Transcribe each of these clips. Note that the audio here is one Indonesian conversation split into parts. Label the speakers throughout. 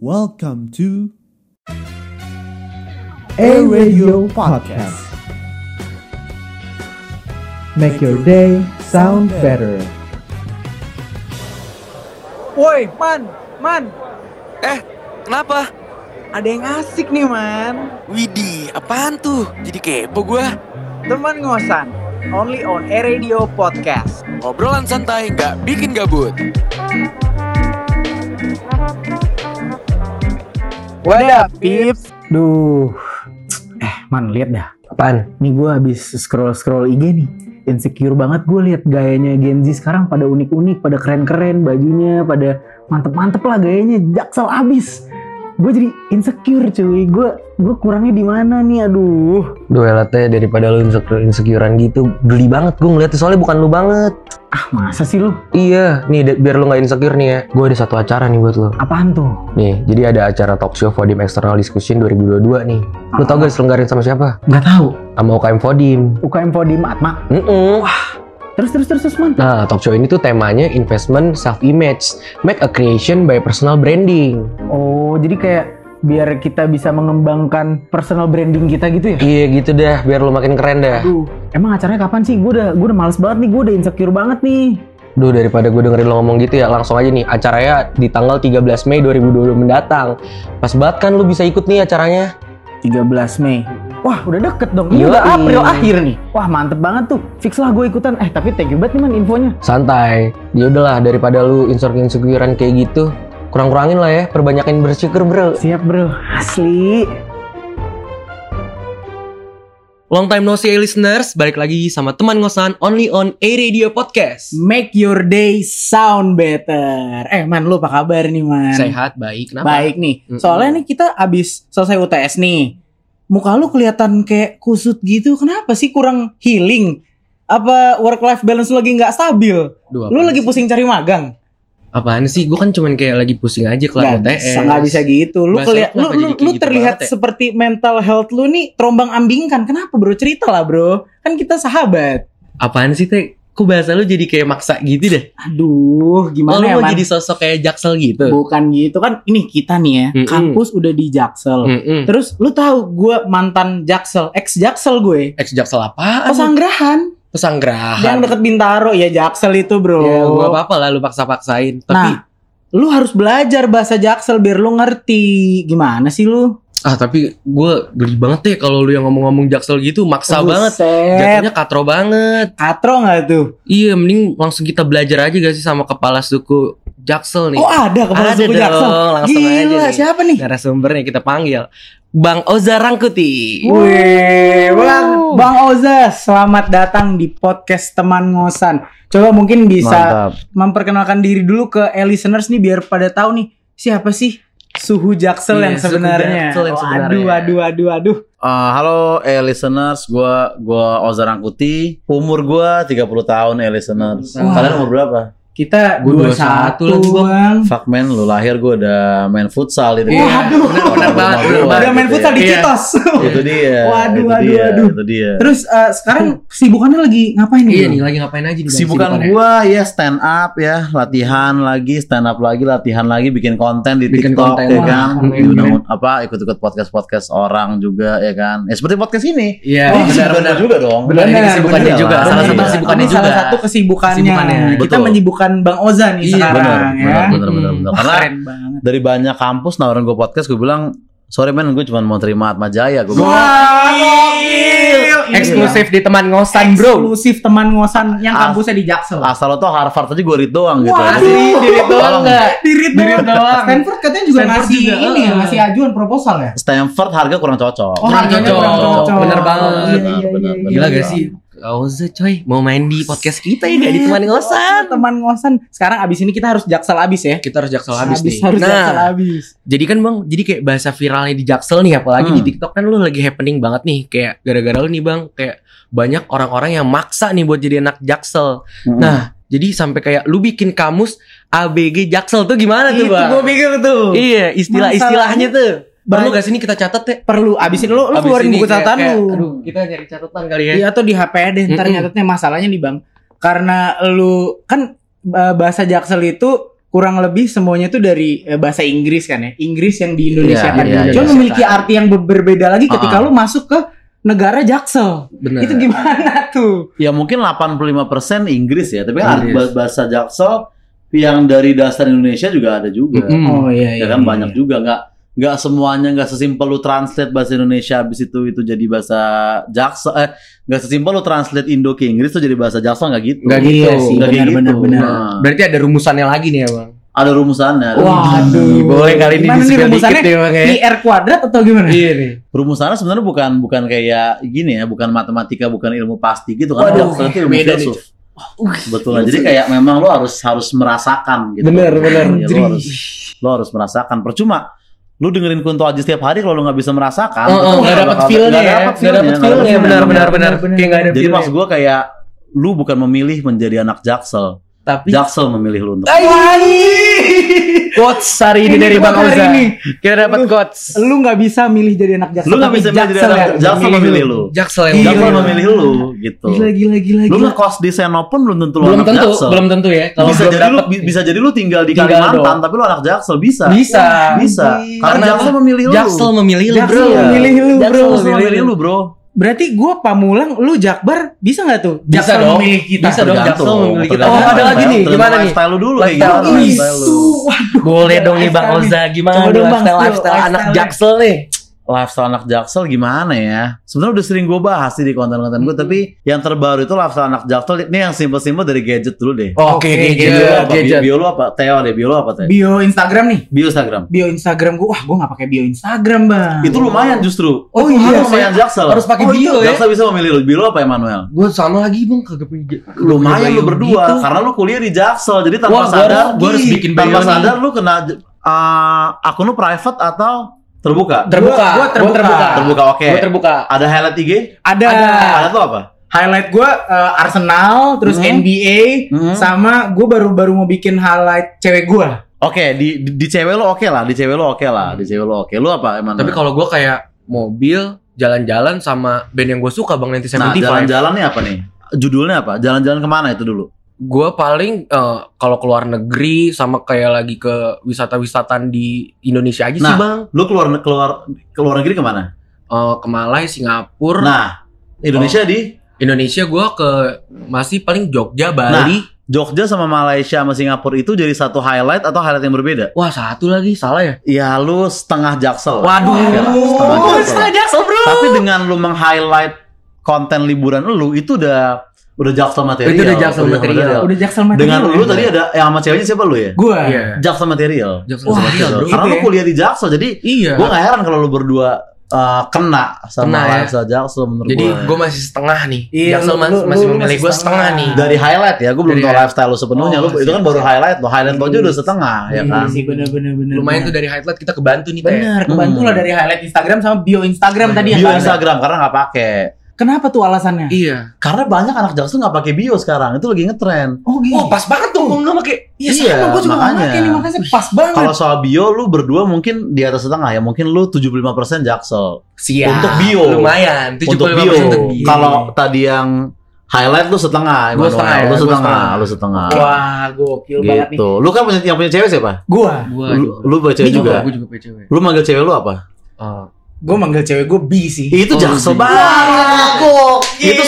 Speaker 1: Welcome to
Speaker 2: A Radio Podcast. Make your day sound better.
Speaker 3: Woi, Man, Man,
Speaker 4: Eh, kenapa?
Speaker 3: ada yang asik nih, Man.
Speaker 4: Widih, apaan tuh? Jadi kepo gua.
Speaker 3: Teman ngosan, only on A Radio Podcast.
Speaker 4: Obrolan santai nggak bikin gabut.
Speaker 3: What up, peeps?
Speaker 5: Duh. Eh, man lihat dah.
Speaker 6: Apaan?
Speaker 5: Nih gue habis scroll-scroll IG nih. Insecure banget gue lihat gayanya Gen Z sekarang pada unik-unik, pada keren-keren bajunya, pada mantep-mantep lah gayanya. Jaksel abis. Gue jadi insecure cuy. Gue gue kurangnya di mana nih? Aduh.
Speaker 6: Duelatnya daripada lu insecure insecurean gitu Geli banget gue ngeliatnya soalnya bukan lu banget
Speaker 5: Ah, masa sih lu?
Speaker 6: Iya nih de- biar lu gak insecure nih ya Gue ada satu acara nih buat lu
Speaker 5: Apaan tuh?
Speaker 6: Nih jadi ada acara talk show Fodim External Discussion 2022 nih Lu tau gak diselenggarin sama siapa?
Speaker 5: Gak tahu.
Speaker 6: Sama UKM Fodim
Speaker 5: UKM Fodim Atma.
Speaker 6: Mm-mm.
Speaker 5: Terus terus terus terus man.
Speaker 6: Nah talk show ini tuh temanya investment self-image Make a creation by personal branding
Speaker 5: Oh, jadi kayak biar kita bisa mengembangkan personal branding kita gitu ya?
Speaker 6: Iya gitu dah biar lu makin keren dah
Speaker 5: Aduh, emang acaranya kapan sih? Gue udah, gue udah males banget nih, gue udah insecure banget nih.
Speaker 6: Duh daripada gue dengerin lo ngomong gitu ya langsung aja nih acaranya di tanggal 13 Mei 2022 mendatang Pas banget kan lu bisa ikut nih acaranya
Speaker 5: 13 Mei. Wah, udah deket dong. Ini
Speaker 6: Yoi.
Speaker 5: udah April akhir nih. Wah, mantep banget tuh. Fix lah gue ikutan. Eh, tapi thank you banget nih man infonya.
Speaker 6: santai ya udahlah daripada lu insecure insecurean kayak gitu kurang-kurangin lah ya perbanyakin bersyukur bro
Speaker 5: Siap bro, asli.
Speaker 4: Long time no see listeners, balik lagi sama teman ngosan only on A Radio Podcast.
Speaker 5: Make your day sound better. Eh man, lu apa kabar nih man?
Speaker 4: Sehat, baik, kenapa?
Speaker 5: Baik nih.
Speaker 4: Mm-mm.
Speaker 5: Soalnya nih kita abis selesai UTS nih. Muka lu kelihatan kayak kusut gitu. Kenapa sih kurang healing? Apa work life balance lu lagi nggak stabil?
Speaker 4: Duh,
Speaker 5: Lu
Speaker 4: apaan
Speaker 5: lagi
Speaker 4: sih?
Speaker 5: pusing cari magang?
Speaker 4: Apaan sih? Gua kan cuman kayak lagi pusing aja kelar
Speaker 5: Nggak
Speaker 4: UTS.
Speaker 5: bisa, nggak bisa gitu. Lu
Speaker 4: Bahasa lu
Speaker 5: kelihat lu lu,
Speaker 4: kenapa jadi kayak
Speaker 5: lu
Speaker 4: gitu
Speaker 5: terlihat
Speaker 4: banget ya?
Speaker 5: seperti mental health lu nih terombang ambingkan. Kenapa bro? Cerita lah bro. Kan kita sahabat.
Speaker 4: Apaan sih, Teh? Kok bahasa lu jadi kayak maksa gitu deh?
Speaker 5: Aduh,
Speaker 4: Oh,
Speaker 5: gimana
Speaker 4: lu
Speaker 5: ya
Speaker 4: mau
Speaker 5: man?
Speaker 4: jadi sosok kayak jaksel gitu?
Speaker 5: Bukan gitu kan? Ini kita nih ya.
Speaker 4: Mm-mm.
Speaker 5: Kampus udah di Jaksel.
Speaker 4: Mm-mm.
Speaker 5: Terus lu tahu gue mantan Jaksel, ex Jaksel gue.
Speaker 4: Ex jaksel apaan?
Speaker 5: Pesanggrahan yang
Speaker 4: Pesanggrahan.
Speaker 5: deket Bintaro ya Jaksel itu bro.
Speaker 4: Ya, gua apa-apa lah lu paksa-paksain. Tapi
Speaker 5: nah, lu harus belajar bahasa Jaksel biar lu ngerti. Gimana sih lu?
Speaker 4: Ah tapi gue geli banget deh kalau lu yang ngomong-ngomong jaksel gitu maksa banget.
Speaker 5: Buset.
Speaker 4: Jatuhnya katro banget.
Speaker 5: Katro nggak tuh?
Speaker 4: Iya mending langsung kita belajar aja gak sih sama kepala suku jaksel nih.
Speaker 5: Oh ada kepala
Speaker 4: Ada
Speaker 5: suku
Speaker 4: dong,
Speaker 5: Jaksel.
Speaker 4: langsung aja
Speaker 5: Gila,
Speaker 4: nih.
Speaker 5: siapa nih?
Speaker 4: Narasumbernya kita panggil Bang Oza Rangkuti.
Speaker 5: Wih, Bang, Bang Oza, selamat datang di podcast teman ngosan. Coba mungkin bisa
Speaker 2: Mantap.
Speaker 5: memperkenalkan diri dulu ke eh, listeners nih biar pada tahu nih siapa sih suhu Jaksel
Speaker 4: Iya,
Speaker 5: yang
Speaker 4: suhu
Speaker 5: sebenarnya.
Speaker 4: Jaksel yang sebenarnya.
Speaker 5: Aduh, aduh, aduh, aduh.
Speaker 2: Eh, halo eh listeners, gua gua Oza Rangkuti. Umur gua 30 tahun eh listeners.
Speaker 5: Wah.
Speaker 2: Kalian umur berapa?
Speaker 5: Kita dua
Speaker 4: Gua 21
Speaker 5: satu
Speaker 4: lagi, Bang.
Speaker 5: bang.
Speaker 2: Fuck man, lu lahir gua udah main futsal itu.
Speaker 5: Iya. Waduh.
Speaker 4: benar banget, benar banget.
Speaker 5: Udah main futsal di
Speaker 4: Iya.
Speaker 5: Citos.
Speaker 2: Itu dia.
Speaker 5: Waduh,
Speaker 2: itu
Speaker 5: waduh,
Speaker 2: dia,
Speaker 5: waduh.
Speaker 2: Itu dia.
Speaker 5: Terus eh, sekarang sibukannya lagi ngapain nih?
Speaker 4: Iya
Speaker 5: Bang?
Speaker 4: nih lagi ngapain aja nih? Bang,
Speaker 2: Sibukan
Speaker 4: sibukannya?
Speaker 2: gua ya stand up ya, latihan lagi, stand up lagi, latihan lagi, bikin konten di
Speaker 4: Bikin
Speaker 2: TikTok
Speaker 4: konten.
Speaker 2: ya
Speaker 4: Wah,
Speaker 2: kan.
Speaker 4: keren,
Speaker 2: Diundang- apa ikut-ikut podcast-podcast orang juga ya kan. Ya seperti podcast ini. Wah,
Speaker 4: Iya. benar-benar.
Speaker 2: benar juga dong.
Speaker 4: Benar, ini
Speaker 5: Bener,
Speaker 4: kesibukannya
Speaker 2: bener.
Speaker 4: juga. Salah
Speaker 2: Bener.
Speaker 4: satu
Speaker 2: Iya.
Speaker 4: kesibukannya
Speaker 5: ini
Speaker 4: juga.
Speaker 5: salah satu kesibukannya.
Speaker 4: Kesibukannya,
Speaker 5: Kita
Speaker 2: betul.
Speaker 5: menyibukkan Bang Oza nih sekarang
Speaker 4: Iya,
Speaker 2: Benar, benar,
Speaker 5: ya.
Speaker 2: benar, benar, benar.
Speaker 5: Wah,
Speaker 2: Karena
Speaker 5: keren banget.
Speaker 2: dari banyak kampus nawarin gue podcast, gue bilang, sorry men, gue cuma mau terima Atma Jaya. Gue bilang,
Speaker 5: Wah, gokil.
Speaker 4: Eksklusif di teman ngosan bro. Ah,
Speaker 5: Eksklusif teman ngosan yang
Speaker 2: As-
Speaker 5: kampusnya di Jaksel.
Speaker 2: asal lo tau Harvard aja gue read doang gitu.
Speaker 5: Waduh.
Speaker 2: Jadi,
Speaker 4: Dirit doang
Speaker 2: Tolong.
Speaker 4: nggak?
Speaker 5: Dirit
Speaker 4: Dirit doang.
Speaker 5: Stanford katanya juga
Speaker 4: Stanford
Speaker 5: ngasih
Speaker 4: juga,
Speaker 5: ini ya,
Speaker 4: eh.
Speaker 5: ngasih ajuan proposal ya.
Speaker 2: Stanford harga kurang cocok.
Speaker 5: Oh,
Speaker 4: Kurang
Speaker 5: harganya
Speaker 4: cocok.
Speaker 5: kurang cocok.
Speaker 4: Bener banget.
Speaker 5: Iya, iya, iya,
Speaker 2: Benar,
Speaker 5: iya.
Speaker 2: benar,
Speaker 4: Gila gak sih? Oza coy mau main di podcast kita ya gak di teman
Speaker 5: Iya.
Speaker 4: ngosan.
Speaker 5: Teman ngosan. Sekarang abis ini kita harus Jaksel abis ya.
Speaker 4: Kita harus jaksel habis Oh, nih.
Speaker 5: harus Jaksel
Speaker 4: Nah,
Speaker 5: abis.
Speaker 4: Jadi kan bang, jadi kayak bahasa viralnya di Jaksel nih, apalagi
Speaker 2: Hmm.
Speaker 4: di TikTok kan lu lagi happening banget nih, kayak gara-gara lu nih bang, kayak banyak orang-orang yang maksa nih buat jadi anak Jaksel.
Speaker 5: Hmm.
Speaker 4: Nah, jadi sampai kayak lu bikin kamus ABG Jaksel tuh gimana Nah, tuh
Speaker 5: Itu
Speaker 4: bang?
Speaker 5: gue pikir tuh.
Speaker 4: Iya, istilah-istilahnya tuh. Perlu
Speaker 5: Baik.
Speaker 4: gak sih ini kita catat ya?
Speaker 5: Perlu abisin lu, lu
Speaker 4: Abis
Speaker 5: keluarin
Speaker 4: ini
Speaker 5: buku
Speaker 4: kayak-
Speaker 5: catatan
Speaker 4: kayak,
Speaker 5: lu.
Speaker 4: Aduh, kita nyari catatan kali ya.
Speaker 5: Iya atau di HP deh ntar
Speaker 4: Mm-mm.
Speaker 5: nyatetnya masalahnya nih bang. Karena lu kan eh, bahasa Jaksel itu kurang lebih semuanya itu dari eh, bahasa Inggris kan ya. Inggris yang di
Speaker 2: Iya,
Speaker 5: Indonesia kan.
Speaker 2: iya,
Speaker 5: Cuma
Speaker 2: iya.
Speaker 5: memiliki arti yang ber- berbeda lagi ketika
Speaker 2: Ah.
Speaker 5: lu masuk ke negara Jaksel.
Speaker 4: Benar.
Speaker 5: Itu gimana tuh?
Speaker 2: Ya mungkin 85% Inggris ya, tapi kan
Speaker 4: Inggris.
Speaker 2: bah- bahasa Jaksel yang dari dasar Indonesia juga ada juga.
Speaker 4: Mm-mm.
Speaker 5: iya
Speaker 2: Ya kan banyak juga nggak nggak semuanya nggak sesimpel lu translate bahasa Indonesia habis itu itu jadi bahasa Jaksel eh nggak sesimpel lu translate Indo ke Inggris tuh jadi bahasa Jaksel nggak gitu.
Speaker 4: Nggak gitu.
Speaker 5: Iya sih,
Speaker 2: Nggak kayak
Speaker 5: benar-benar
Speaker 2: gitu.
Speaker 5: benar.
Speaker 2: Nah,
Speaker 4: Berarti ada rumusannya lagi nih ya bang.
Speaker 2: ada rumusannya. ada
Speaker 5: Waduh.
Speaker 4: Boleh kali ini
Speaker 5: Gimana nih
Speaker 4: di-spill
Speaker 5: rumusannya?
Speaker 4: dikit ya bang ya.
Speaker 5: Di R kuadrat atau gimana?
Speaker 4: Iya nih.
Speaker 2: rumusannya sebenarnya bukan bukan kayak gini ya, bukan matematika, bukan ilmu pasti gitu kan.
Speaker 4: Waduh,
Speaker 2: Jaksel itu ilmu
Speaker 4: beda nih.
Speaker 2: filsuf. Betul. Jadi kayak memang lo harus harus merasakan gitu.
Speaker 4: Bener, bener.
Speaker 2: Ya, lo harus lo harus merasakan. Percuma lu dengerin Kunto Aji setiap hari kalau lu nggak bisa merasakan,
Speaker 4: Oh, oh,
Speaker 2: betul,
Speaker 4: nggak
Speaker 2: nggak
Speaker 4: dapet
Speaker 2: bakal-
Speaker 4: feel-nya
Speaker 2: nggak
Speaker 4: ya.
Speaker 2: dapet
Speaker 4: Nggak dapet
Speaker 2: feel-nya, nggak
Speaker 4: feel-nya,
Speaker 2: dapet
Speaker 4: benar
Speaker 2: feel-nya.
Speaker 4: benar benar.
Speaker 5: benar.
Speaker 4: Kayak nggak ada
Speaker 2: Jadi
Speaker 4: feel-nya.
Speaker 2: maksud gua kayak lu bukan memilih menjadi anak Jaksel.
Speaker 4: Tapi
Speaker 2: Jaksel memilih lu untuk.
Speaker 4: quotes hari ini dari Bang
Speaker 5: hari
Speaker 4: Oza.
Speaker 5: ini.
Speaker 4: Kita dapat quotes.
Speaker 5: Lu nggak bisa milih jadi anak Jaksel.
Speaker 2: Lu nggak
Speaker 5: tapi
Speaker 2: bisa menjadi
Speaker 5: Jaksel
Speaker 2: anak
Speaker 4: ya?
Speaker 5: yang
Speaker 2: Jaksel memilih lu.
Speaker 4: Jaksel yang
Speaker 2: Jaksel
Speaker 4: bagus.
Speaker 2: memilih lu gitu.
Speaker 5: Gila gila gila.
Speaker 2: Lu
Speaker 5: gila.
Speaker 2: ngekos di Seno pun belum tentu lu
Speaker 4: Belum
Speaker 2: anak
Speaker 4: tentu,
Speaker 2: Jaksel.
Speaker 4: belum tentu ya. Kalau
Speaker 2: bisa
Speaker 4: belum
Speaker 2: jadi lu
Speaker 4: dapet nih.
Speaker 2: bisa jadi lu tinggal di
Speaker 4: Tinggal
Speaker 2: Kalimantan
Speaker 4: doang.
Speaker 2: tapi lu anak Jaksel bisa.
Speaker 4: bisa.
Speaker 2: Bisa. Karena
Speaker 4: Karena
Speaker 2: Jaksel memilih lu.
Speaker 4: Jaksel memilih lu,
Speaker 5: Jaksel
Speaker 4: bro.
Speaker 5: memilih lu,
Speaker 2: Jaksel
Speaker 5: bro.
Speaker 2: memilih lu, Bro.
Speaker 5: Berarti gue pamulang, lu jakbar bisa nggak tuh?
Speaker 4: Bisa
Speaker 5: Jaksel
Speaker 4: dong.
Speaker 5: memilih kita.
Speaker 4: Bisa dong,
Speaker 2: Tergantung.
Speaker 4: Jaksel memilih kita.
Speaker 2: Tergantung
Speaker 4: Oh, ada lagi
Speaker 2: lifestyle-
Speaker 4: nih,
Speaker 2: tergantung
Speaker 4: gimana nih?
Speaker 2: Lifestyle lu dulu kayak
Speaker 4: Lifestyle.
Speaker 2: gimana
Speaker 4: Ih,
Speaker 2: lifestyle lu.
Speaker 4: Boleh dong nih Bang
Speaker 5: Lifestyle
Speaker 4: Iya, Oza gimana
Speaker 5: Coba dong, Bang,
Speaker 4: lifestyle,
Speaker 5: spill
Speaker 4: lifestyle anak
Speaker 5: lifestyle-nya.
Speaker 4: Jaksel nih.
Speaker 2: Lifestyle anak Jaksel gimana ya? Sebenarnya udah sering gue bahas sih di konten-konten gue, tapi
Speaker 4: Hmm.
Speaker 2: yang terbaru itu lifestyle anak Jaksel ini yang simple-simple dari gadget dulu deh.
Speaker 4: Oke, iya,
Speaker 2: Bio
Speaker 4: gitu
Speaker 2: lu
Speaker 4: Oh, gadget,
Speaker 2: apa? Bio, bio lu apa? Teo deh, bio lu apa Teo?
Speaker 5: Bio Instagram nih.
Speaker 2: Bio Instagram.
Speaker 5: Bio Instagram gue, wah gue nggak pakai bio Instagram bang.
Speaker 2: Itu lumayan justru.
Speaker 4: Nah. Oh,
Speaker 2: Itu
Speaker 4: iya,
Speaker 2: lumayan Jaksel.
Speaker 4: Harus pakai bio ya.
Speaker 2: Jaksel bisa memilih lu. Bio lu apa Emmanuel?
Speaker 4: Gue sama lagi bang kagak punya
Speaker 2: lumayan lu
Speaker 4: bio
Speaker 2: berdua
Speaker 4: Oh, gitu.
Speaker 2: karena lu kuliah di Jaksel jadi tanpa
Speaker 4: Wah, gua
Speaker 2: sadar
Speaker 4: harus- gua harus bikin
Speaker 2: tanpa
Speaker 4: bio nih.
Speaker 2: sadar lu kena eh, akun lu private atau terbuka
Speaker 4: Terbuka,
Speaker 5: Gua- gua
Speaker 4: gua terbuka.
Speaker 2: terbuka oke
Speaker 4: Gua terbuka.
Speaker 2: ada highlight IG
Speaker 5: Ada,
Speaker 2: ada tuh apa
Speaker 5: highlight gue eh, Arsenal, terus
Speaker 2: Hmm.
Speaker 5: NBA,
Speaker 2: Hmm.
Speaker 5: sama gue baru-baru mau bikin highlight cewek gue.
Speaker 2: oke di, di di cewek lu oke lah di cewek lu oke lah di cewek lu oke lu apa emang
Speaker 4: Tapi kalau gue kayak mobil, jalan-jalan sama band yang gue suka bang nanti
Speaker 2: nah
Speaker 4: 75
Speaker 2: jalan-jalan nih apa nih judulnya apa jalan-jalan kemana itu dulu
Speaker 4: Gue paling eh, kalau keluar negeri sama kayak lagi ke wisata-wisatan di Indonesia aja
Speaker 2: Nah.
Speaker 4: sih bang.
Speaker 2: lu keluar keluar keluar negeri kemana
Speaker 4: Eh, ke Malai, Singapura,
Speaker 2: nah Indonesia
Speaker 4: Oh.
Speaker 2: di
Speaker 4: Indonesia gue ke masih paling Jogja, Bali.
Speaker 2: Jogja sama Malaysia sama Singapura itu jadi satu highlight atau highlight yang berbeda?
Speaker 4: Wah satu lagi salah ya. Iya.
Speaker 2: Ya lu setengah jaksel. lah.
Speaker 4: Waduh.
Speaker 2: Ya lah, setengah
Speaker 5: Oh,
Speaker 2: jaksel.
Speaker 5: Instagram Jaksel, bro.
Speaker 2: Tapi dengan lu meng-highlight konten liburan lu itu udah udah jaksel material.
Speaker 4: Itu udah jaksel material.
Speaker 5: Udah Jaksel material.
Speaker 2: Dengan lu tadi ada yang sama ceweknya siapa lu ya?
Speaker 5: gue.
Speaker 2: Jaksel material.
Speaker 4: Iya. Jaksel
Speaker 5: Wah,
Speaker 4: material,
Speaker 2: Jaksel.
Speaker 4: bro.
Speaker 2: Karena
Speaker 5: Gitu
Speaker 2: iya, lu
Speaker 5: ya.
Speaker 2: kuliah di jaksel jadi
Speaker 4: Iya.
Speaker 2: gua gak heran kalau lu berdua uh, kena sama
Speaker 4: Kena ya.
Speaker 2: lifestyle jaksel menurut
Speaker 4: Jadi
Speaker 2: gua.
Speaker 4: gue masih setengah nih.
Speaker 5: Iya,
Speaker 4: Jaksel
Speaker 5: lu-
Speaker 4: mas-
Speaker 5: lu-
Speaker 4: masih
Speaker 5: lu
Speaker 4: memilih
Speaker 5: masih
Speaker 4: gue setengah
Speaker 5: setengah.
Speaker 4: nih.
Speaker 2: dari highlight ya, gue belum
Speaker 4: Dari
Speaker 2: tahu
Speaker 4: highlight.
Speaker 2: lifestyle lu sepenuhnya.
Speaker 4: Oh,
Speaker 2: lu itu kan baru highlight lo, highlight lo aja udah setengah ya
Speaker 5: Iya
Speaker 2: kan.
Speaker 5: sih bener-bener bener.
Speaker 4: Lumayan tuh dari highlight kita kebantu nih teh.
Speaker 5: Bener, kebantu lah
Speaker 2: Hmm.
Speaker 5: dari highlight Instagram sama bio Instagram tadi yang
Speaker 2: Bio
Speaker 5: tadi.
Speaker 2: Instagram karena nggak pakai.
Speaker 5: Kenapa tuh alasannya?
Speaker 4: Iya.
Speaker 2: Karena banyak anak jaksel nggak pakai bio sekarang, itu lagi ngetren.
Speaker 5: Oh gitu.
Speaker 4: Wah pas banget tuh nggak pakai.
Speaker 2: Iya,
Speaker 5: gue juga nggak
Speaker 2: makanya.
Speaker 5: pakai nih makanya pas banget.
Speaker 2: Kalau soal bio lu berdua mungkin di atas setengah ya, mungkin lu 75% jaksel.
Speaker 4: Siap.
Speaker 2: Untuk bio.
Speaker 4: Lumayan. 75%
Speaker 2: Untuk bio.
Speaker 4: untuk bio.
Speaker 2: Kalau tadi yang highlight lu setengah,
Speaker 4: Gua
Speaker 2: Emmanuel.
Speaker 4: setengah ya,
Speaker 2: lu
Speaker 4: gua
Speaker 2: setengah,
Speaker 4: setengah.
Speaker 2: lu setengah.
Speaker 5: Wah, gokil banget nih.
Speaker 2: Gitu. Lu kan punya yang punya cewek siapa?
Speaker 5: Gua,
Speaker 4: Gua
Speaker 2: Lu, lu punya cewek juga.
Speaker 4: Gue juga PCW.
Speaker 2: Lu manggil cewek lu apa?
Speaker 4: Oh.
Speaker 5: gua manggil cewek gue B sih.
Speaker 2: Ih, Itu
Speaker 4: Oh,
Speaker 2: jaksel
Speaker 4: iya.
Speaker 2: banget.
Speaker 5: gokil.
Speaker 2: Itu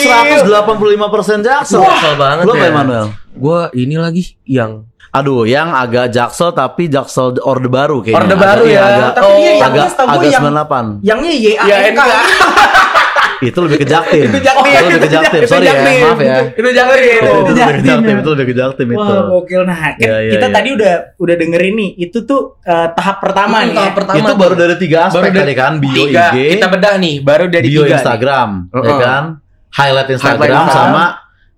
Speaker 2: 185% jaksel.
Speaker 4: Jaksel banget
Speaker 2: Lu apa
Speaker 4: ya.
Speaker 2: Emmanuel?
Speaker 4: Gue ini lagi yang
Speaker 2: Aduh, yang agak jaksel tapi jaksel orde baru kayaknya.
Speaker 4: Orde
Speaker 2: Agak-
Speaker 4: baru
Speaker 2: iya,
Speaker 4: ya.
Speaker 2: Agak,
Speaker 5: Tapi dia yang
Speaker 2: agak,
Speaker 5: jelas tau gue
Speaker 2: agak
Speaker 5: yang
Speaker 2: 98.
Speaker 5: Yangnya Y A N K.
Speaker 2: Itu lebih ke Jaktim.
Speaker 5: Itu Jaktim.
Speaker 2: Itu lebih ke Jaktim. Sorry ya,
Speaker 5: Jaktim.
Speaker 2: maaf ya.
Speaker 5: Itu jangan ya.
Speaker 2: Itu
Speaker 5: Itu
Speaker 2: lebih ke
Speaker 5: Jaktim.
Speaker 2: Jaktim, itu lebih ke Jaktim itu.
Speaker 5: Wah, gokil nah. Kan
Speaker 2: Iya, iya,
Speaker 5: kita
Speaker 2: iya.
Speaker 5: tadi udah udah dengerin nih. Itu tuh eh, tahap pertama nih.
Speaker 4: tahap pertama.
Speaker 2: Itu baru dari tiga aspek
Speaker 4: Baru dari
Speaker 2: tadi kan, bio
Speaker 4: tiga.
Speaker 2: IG,
Speaker 4: Kita bedah nih. Baru dari
Speaker 2: bio
Speaker 4: tiga. nih.
Speaker 2: Instagram, ya
Speaker 4: Uh-uh.
Speaker 2: kan? Highlight Instagram
Speaker 4: Highlight Instagram.
Speaker 2: sama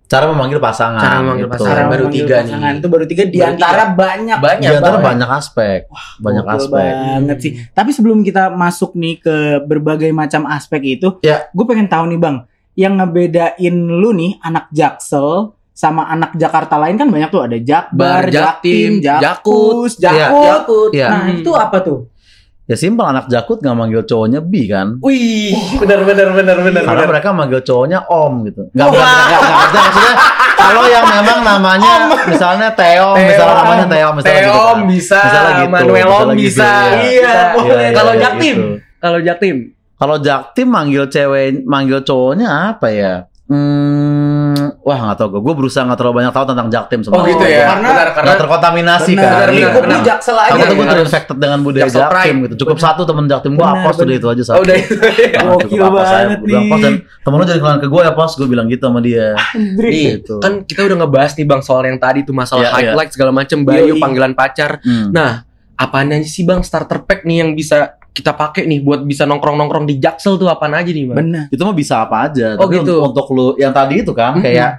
Speaker 2: cara memanggil pasangan.
Speaker 4: Cara memanggil
Speaker 2: gitu.
Speaker 4: pasangan. baru
Speaker 5: memanggil
Speaker 4: tiga nih.
Speaker 5: pasangan. Itu baru tiga di
Speaker 4: Baru
Speaker 5: antara banyak.
Speaker 4: Banyak.
Speaker 2: Di antara
Speaker 4: banget.
Speaker 2: Iya, banyak aspek, banyak
Speaker 5: Gokil
Speaker 2: aspek.
Speaker 5: banget sih. Tapi sebelum kita masuk nih ke berbagai macam aspek itu,
Speaker 2: Ya.
Speaker 5: gue pengen tahu nih bang, yang ngebedain lu nih anak Jaksel sama anak Jakarta lain kan banyak tuh ada Jakbar,
Speaker 4: Bar, Jaktim,
Speaker 5: Jaktim, Jakus, Jakut.
Speaker 4: Yakut.
Speaker 2: Iya.
Speaker 5: Nah itu apa tuh?
Speaker 2: Ya simpel anak jakut nggak manggil cowoknya bi kan?
Speaker 4: Wih, benar benar benar benar.
Speaker 2: Karena mereka manggil cowoknya om gitu. Nggak bukan, nggak, nggak, nggak, maksudnya, maksudnya Kalau yang memang namanya misalnya Teo, misalnya namanya Teo, misalnya gitu kan.
Speaker 4: Teom bisa,
Speaker 2: Misalnya gitu,
Speaker 4: Manuel Om
Speaker 2: misalnya gitu,
Speaker 4: bisa.
Speaker 2: ya.
Speaker 4: Iya,
Speaker 2: Iya, iya,
Speaker 4: Kalau
Speaker 2: iya,
Speaker 4: Jaktim,
Speaker 2: gitu.
Speaker 4: kalau Jaktim.
Speaker 2: Kalau Jaktim manggil cewek, manggil cowoknya apa ya? Hmm, wah nggak tau gue. Gue berusaha nggak terlalu banyak tahu tentang Jaktim sebenarnya.
Speaker 5: gitu ya. Karena-
Speaker 4: Benar, Oh, karena
Speaker 2: Nggak terkontaminasi
Speaker 5: Benar,
Speaker 2: kan.
Speaker 4: benar,
Speaker 2: Iya.
Speaker 5: lingkup lu
Speaker 4: benar.
Speaker 5: jaksel
Speaker 2: Aku
Speaker 5: aja.
Speaker 2: tuh gue
Speaker 4: Iya.
Speaker 2: terinfected dengan budaya
Speaker 4: Jaksel
Speaker 2: Jaktim
Speaker 4: Prime.
Speaker 2: gitu. Cukup satu temen Jaktim gue
Speaker 5: Benar,
Speaker 2: hapus udah
Speaker 5: benar.
Speaker 2: itu aja
Speaker 4: Oh,
Speaker 2: satu.
Speaker 4: udah itu.
Speaker 2: Ah,
Speaker 5: Gokil
Speaker 2: cukup hapus aja.
Speaker 5: banget
Speaker 2: Gua bilang,
Speaker 5: nih.
Speaker 2: "Pos, dan Temen lu jadi keluhan ke gue ya pos. Gue bilang gitu sama dia.
Speaker 5: Andri.
Speaker 4: Nih,
Speaker 2: Gitu.
Speaker 4: kan kita udah ngebahas nih Bang soal yang tadi tuh masalah
Speaker 2: Iya, iya.
Speaker 4: highlight segala macem
Speaker 5: Yoi.
Speaker 4: Bayu panggilan pacar.
Speaker 2: Hmm.
Speaker 4: Nah, apaan aja sih Bang starter pack nih yang bisa kita pakai nih buat bisa nongkrong-nongkrong di Jaksel tuh apaan aja nih, Bang?
Speaker 5: Benar.
Speaker 2: itu mah bisa apa aja
Speaker 4: Oh,
Speaker 2: tapi
Speaker 4: gitu.
Speaker 2: untuk, untuk lu yang tadi itu kan
Speaker 4: Mhm.
Speaker 2: kayak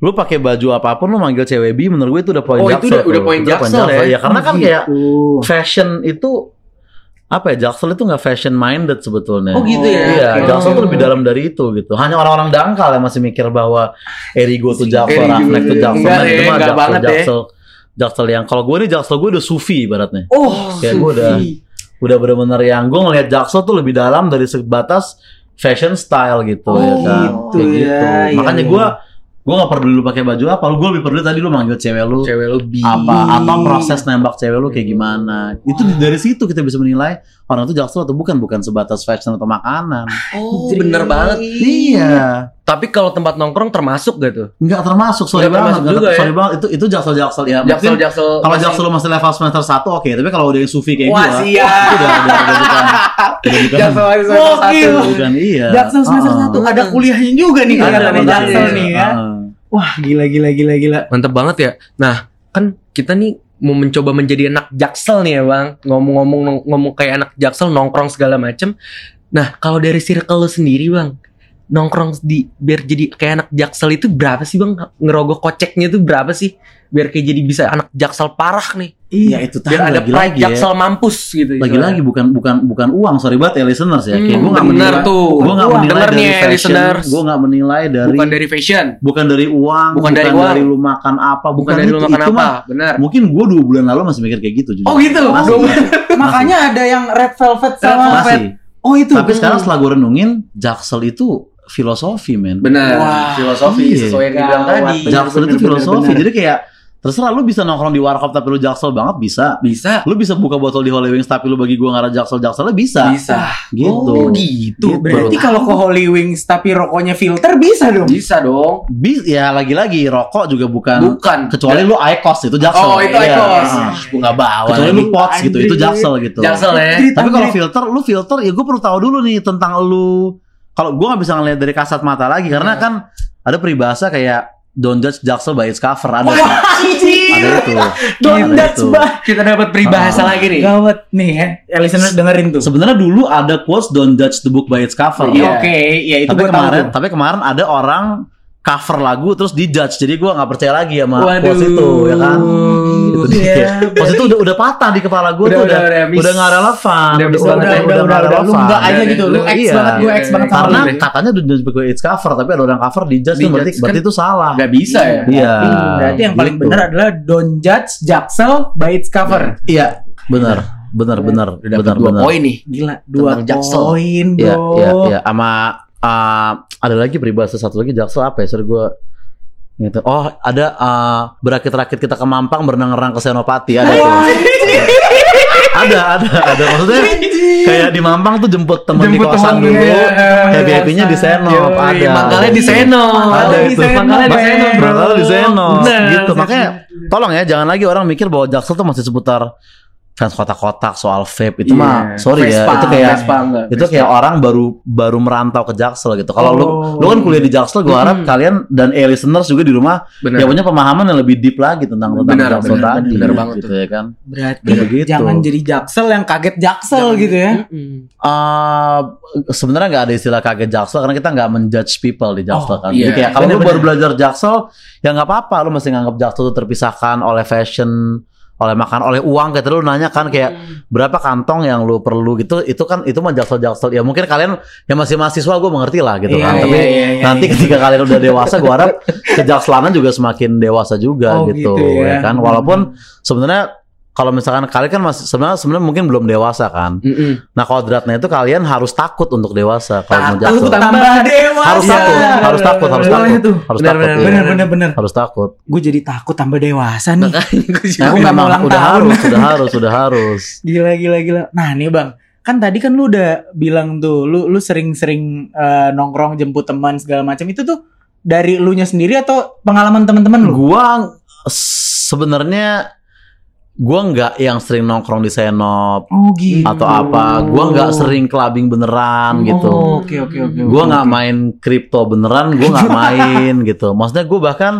Speaker 2: lu pakai baju apapun lu manggil cewek bi menurut gue itu udah poin
Speaker 4: Oh, itu
Speaker 2: jaksel
Speaker 4: udah-
Speaker 2: tuh.
Speaker 4: udah poin jaksel ya.
Speaker 2: karena kan kayak
Speaker 5: Gitu.
Speaker 2: fashion itu apa ya jaksel itu nggak fashion minded sebetulnya
Speaker 4: Oh, gitu ya.
Speaker 2: Iya,
Speaker 5: Oke.
Speaker 2: Jaksel tuh lebih dalam dari itu gitu. Hanya orang-orang dangkal yang masih mikir bahwa Erigo tuh Jaksel,
Speaker 4: Erigo.
Speaker 2: Raflek tuh Jaksel,
Speaker 4: Enggak
Speaker 2: nah,
Speaker 4: deh,
Speaker 2: itu mah
Speaker 4: enggak
Speaker 2: Jaksel,
Speaker 4: banget deh.
Speaker 2: Jaksel, Jaksel yang kalau gue nih Jaksel gue udah sufi ibaratnya.
Speaker 5: Oh,
Speaker 2: Kayak gua udah- Udah bener-bener yang gue ngeliat Jaksel tuh lebih dalam dari sebatas fashion style gitu
Speaker 5: Oh,
Speaker 2: ya kan.
Speaker 5: gitu
Speaker 2: Kayak gitu.
Speaker 5: ya, iya,
Speaker 2: Makanya
Speaker 5: iya.
Speaker 2: gue gue gak perlu dulu pakai baju apa, lu gue lebih perlu tadi lu manggil cewek lu
Speaker 4: Cewek lebih.
Speaker 2: apa atau proses nembak cewek lu kayak gimana. Itu dari situ kita bisa menilai orang itu jaksel atau bukan bukan sebatas fashion atau makanan. uh,
Speaker 4: Oh, bener banget.
Speaker 2: Iya,
Speaker 4: Tapi kalau tempat nongkrong termasuk gak tuh?
Speaker 2: nggak termasuk sorry
Speaker 4: Nggak
Speaker 2: banget,
Speaker 4: termasuk
Speaker 2: nggak
Speaker 4: juga
Speaker 2: ter-
Speaker 4: ya.
Speaker 2: sorry banget itu itu jaksel jaksel ya. Mungkin
Speaker 4: Jaksel.
Speaker 2: kalau jaksel lu masih level semester 1 oke, tapi kalau udah yang sufi kayak
Speaker 4: Wah,
Speaker 2: gua,
Speaker 4: siap.
Speaker 2: itu udah udah udah bukan udah bukan
Speaker 4: Jaksel
Speaker 5: Gokil.
Speaker 2: udah bukan iya.
Speaker 5: Jaksel semester
Speaker 2: Ah. Iya,
Speaker 5: satu ada kuliahnya juga nih
Speaker 4: Ada,
Speaker 5: kelihatannya
Speaker 4: ada,
Speaker 5: Jaksel
Speaker 4: ada.
Speaker 5: nih ya.
Speaker 2: Ah.
Speaker 5: Wah, gila gila gila gila.
Speaker 4: Mantap banget ya. Nah, kan kita nih mau mencoba menjadi anak jaksel nih ya bang ngomong-ngomong nong- ngomong kayak anak jaksel nongkrong segala macem nah kalau dari circle lu sendiri bang nongkrong di biar jadi kayak anak jaksel itu berapa sih bang ngerogoh koceknya itu berapa sih biar kayak jadi bisa anak jaksel parah nih
Speaker 2: Iya itu tadi
Speaker 4: biar ada pride
Speaker 2: lagi-lagi ya.
Speaker 4: jaksel mampus gitu
Speaker 2: Lagi-lagi bukan bukan bukan uang, sorry banget ya listeners ya. Kayak
Speaker 4: Hmm,
Speaker 2: gue nggak
Speaker 4: bener
Speaker 2: menilai-
Speaker 4: tuh.
Speaker 2: Gue Oh, nggak
Speaker 4: Uang.
Speaker 2: menilai
Speaker 4: Denger
Speaker 2: dari
Speaker 4: nih ya,
Speaker 2: fashion,
Speaker 4: listeners.
Speaker 2: gue nggak menilai dari
Speaker 4: bukan dari fashion
Speaker 2: bukan dari uang,
Speaker 4: Bukan dari uang.
Speaker 2: lu makan apa,
Speaker 4: bukan, dari
Speaker 2: itu,
Speaker 4: lu makan
Speaker 2: itu
Speaker 4: apa
Speaker 2: mah
Speaker 4: benar
Speaker 2: mungkin gue dua bulan lalu masih mikir kayak gitu. Jujur.
Speaker 4: oh gitu
Speaker 2: Masih,
Speaker 5: Makanya ada yang red velvet sama
Speaker 2: masih.
Speaker 5: Oh, itu.
Speaker 2: Tapi
Speaker 4: Hmm.
Speaker 2: sekarang setelah gue renungin, jaksel itu filosofi men.
Speaker 4: benar
Speaker 5: Wah,
Speaker 4: filosofi
Speaker 2: iya.
Speaker 4: sesuai yang dibilang
Speaker 5: Gawat.
Speaker 4: tadi
Speaker 5: Bener,
Speaker 2: Jaksel itu
Speaker 5: bener,
Speaker 2: filosofi.
Speaker 5: bener.
Speaker 2: Jadi kayak terserah lu bisa nongkrong di warkop tapi lu jaksel banget bisa.
Speaker 4: bisa
Speaker 2: Lu bisa buka botol di Holy Wings tapi lu bagi gue ngarah jaksel jakselnya bisa.
Speaker 4: bisa
Speaker 2: Gitu.
Speaker 4: oh
Speaker 2: Gitu.
Speaker 4: gitu
Speaker 5: Berarti kalau ke Holy Wings tapi rokoknya filter bisa
Speaker 2: kan
Speaker 5: dong.
Speaker 4: bisa dong
Speaker 2: Bis, ya lagi-lagi rokok juga bukan,
Speaker 4: bukan
Speaker 2: kecuali lu IQOS itu jaksel.
Speaker 4: Oh, itu
Speaker 2: Iya.
Speaker 4: IQOS.
Speaker 2: Ah.
Speaker 4: gue nggak bawa
Speaker 2: Kecuali lu pots gitu, itu
Speaker 5: Anjir.
Speaker 2: jaksel gitu.
Speaker 4: jaksel ya
Speaker 2: Tapi kalau filter, lu filter ya gue perlu tahu dulu nih tentang lu. Kalau gue nggak bisa ngeliat dari kasat mata lagi karena
Speaker 5: Iya.
Speaker 2: kan ada peribahasa kayak don't judge jaksel by its cover ada.
Speaker 5: Iya,
Speaker 2: ada itu. Ada
Speaker 5: Don't judge
Speaker 2: itu.
Speaker 5: by-
Speaker 4: kita dapat
Speaker 2: Ah.
Speaker 4: peribahasa lagi nih
Speaker 5: Gawat nih ya. Eh, listeners dengerin tuh.
Speaker 2: Sebenarnya dulu ada quotes don't judge the book by its cover.
Speaker 5: Iya, Oke, ya itu
Speaker 2: tapi
Speaker 5: gue tahu.
Speaker 2: kemarin
Speaker 5: tuh.
Speaker 2: tapi kemarin ada orang cover lagu terus di judge jadi gue nggak percaya lagi sama
Speaker 4: Waduh.
Speaker 2: pos itu ya kan itu dia
Speaker 5: Iya,
Speaker 2: pos itu udah udah patah di kepala gue
Speaker 4: Udah,
Speaker 2: tuh
Speaker 4: udah,
Speaker 2: udah
Speaker 4: udah, miss.
Speaker 2: udah nggak relevan
Speaker 4: Udah, miss
Speaker 5: Udah, udah, udah, udah, udah, Lu enggak aja
Speaker 4: Udah,
Speaker 5: gitu. Lu
Speaker 4: udah,
Speaker 5: X
Speaker 2: iya.
Speaker 5: banget, gue X
Speaker 4: Iya,
Speaker 5: banget
Speaker 4: iya.
Speaker 5: sama lu.
Speaker 2: karena
Speaker 4: deh.
Speaker 2: katanya don't judge by its cover tapi ada orang cover di judge
Speaker 4: Di
Speaker 2: tuh berarti
Speaker 4: judge,
Speaker 2: berarti
Speaker 4: kan?
Speaker 2: itu salah
Speaker 4: nggak bisa ya
Speaker 2: iya
Speaker 5: Berarti yang paling
Speaker 2: gitu.
Speaker 5: benar adalah don't judge jaksel by its cover.
Speaker 2: iya benar
Speaker 5: Iya.
Speaker 2: benar benar benar
Speaker 4: dua
Speaker 2: benar
Speaker 4: poin nih
Speaker 5: Gila, dua
Speaker 4: Tentang jaksel.
Speaker 5: poin,
Speaker 2: Iya,
Speaker 5: bro.
Speaker 2: iya, iya. Sama uh, ada lagi peribahasa satu lagi jaksel apa ya? Sorry gue gitu. Oh, ada uh, berakit-rakit kita ke Mampang berenang-renang ke Senopati ada tuh. ada, ada, ada. Maksudnya kayak di Mampang tuh jemput temen di
Speaker 5: Jemput
Speaker 2: kosan
Speaker 5: temen,
Speaker 2: dulu.
Speaker 5: iya,
Speaker 2: Happy-happy-nya di Senop
Speaker 4: Yoi,
Speaker 2: ada.
Speaker 4: mangkalnya Oh, di
Speaker 2: Iya.
Speaker 4: Senop.
Speaker 2: Ada
Speaker 5: Mangkalnya di
Speaker 2: itu.
Speaker 5: Senop,
Speaker 2: Mangkalnya di
Speaker 5: Ben.
Speaker 2: Senop. Mangkalnya di Senop.
Speaker 4: Bener.
Speaker 2: Gitu. Makanya tolong ya jangan lagi orang mikir bahwa jaksel tuh masih seputar fans kotak-kotak soal vape itu mah sorry ya itu kayak
Speaker 4: Iya. Vespa enggak
Speaker 2: itu kayak orang baru baru merantau ke Jaksel gitu. Kalau lu lu kan kuliah di Jaksel, gua harap
Speaker 4: Oh. Mm-mm.
Speaker 2: kalian dan eh, listeners juga di rumah
Speaker 4: benar
Speaker 2: ya punya pemahaman yang lebih deep lagi tentang tentang
Speaker 4: Benar,
Speaker 2: Jaksel
Speaker 4: benar,
Speaker 2: tadi.
Speaker 4: benar banget
Speaker 2: gitu
Speaker 4: tuh.
Speaker 2: ya kan.
Speaker 5: Berarti
Speaker 2: Bener gitu.
Speaker 5: jangan jadi jaksel yang kaget jaksel gitu ya.
Speaker 2: Eh, sebenarnya nggak ada istilah kaget Jaksel karena kita nggak menjudge people di Jaksel
Speaker 5: Oh,
Speaker 2: kan.
Speaker 4: iya.
Speaker 2: Jadi kayak kalau lu
Speaker 5: Benar-benar.
Speaker 2: baru belajar Jaksel, ya nggak apa-apa. Lu masih nganggap Jaksel itu terpisahkan oleh fashion, oleh makan, oleh uang. Kayak tadi lu nanya kan kayak
Speaker 5: Hmm.
Speaker 2: berapa kantong yang lu perlu gitu itu kan itu mah jaksel jaksel ya mungkin kalian yang masih mahasiswa gue mengerti lah gitu kan
Speaker 5: Iya,
Speaker 2: tapi
Speaker 5: iya, iya, iya,
Speaker 2: nanti
Speaker 5: iya.
Speaker 2: ketika kalian udah dewasa gue harap kejakselannya juga semakin dewasa juga
Speaker 5: Oh,
Speaker 2: gitu,
Speaker 5: gitu
Speaker 2: ya
Speaker 5: ya.
Speaker 2: kan walaupun sebenarnya kalau misalkan kalian kan masih sebenarnya sebenarnya mungkin belum dewasa kan.
Speaker 4: Mm-mm.
Speaker 2: Nah kodratnya itu kalian harus takut untuk dewasa kalau mau
Speaker 5: Takut
Speaker 2: jaksel.
Speaker 5: tambah dewa.
Speaker 2: Harus takut, harus takut, harus
Speaker 5: Boleh
Speaker 2: takut,
Speaker 5: tuh.
Speaker 2: harus
Speaker 4: Benar,
Speaker 2: takut.
Speaker 4: benar,
Speaker 2: iya.
Speaker 5: Bener bener bener.
Speaker 2: Harus takut.
Speaker 5: Gue jadi takut tambah dewasa nih.
Speaker 4: Gua juga-
Speaker 5: Nah, Aku nggak mau
Speaker 2: Memang
Speaker 5: ulang
Speaker 2: udah
Speaker 5: tahun.
Speaker 2: harus, sudah harus, sudah harus.
Speaker 5: Gila gila gila. Nah nih bang, kan tadi kan lu udah bilang tuh, lu lu sering-sering eh, nongkrong jemput teman segala macam itu tuh dari lu nya sendiri atau pengalaman teman-teman lu?
Speaker 2: Gua sebenarnya gua nggak yang sering nongkrong di senop
Speaker 5: Oh gitu.
Speaker 2: atau apa. Gua nggak sering clubbing beneran gitu.
Speaker 5: Oh, Oke oke oke.
Speaker 2: Gua
Speaker 5: oke,
Speaker 2: nggak
Speaker 5: oke.
Speaker 2: main kripto beneran, gua nggak main gitu. Maksudnya gua bahkan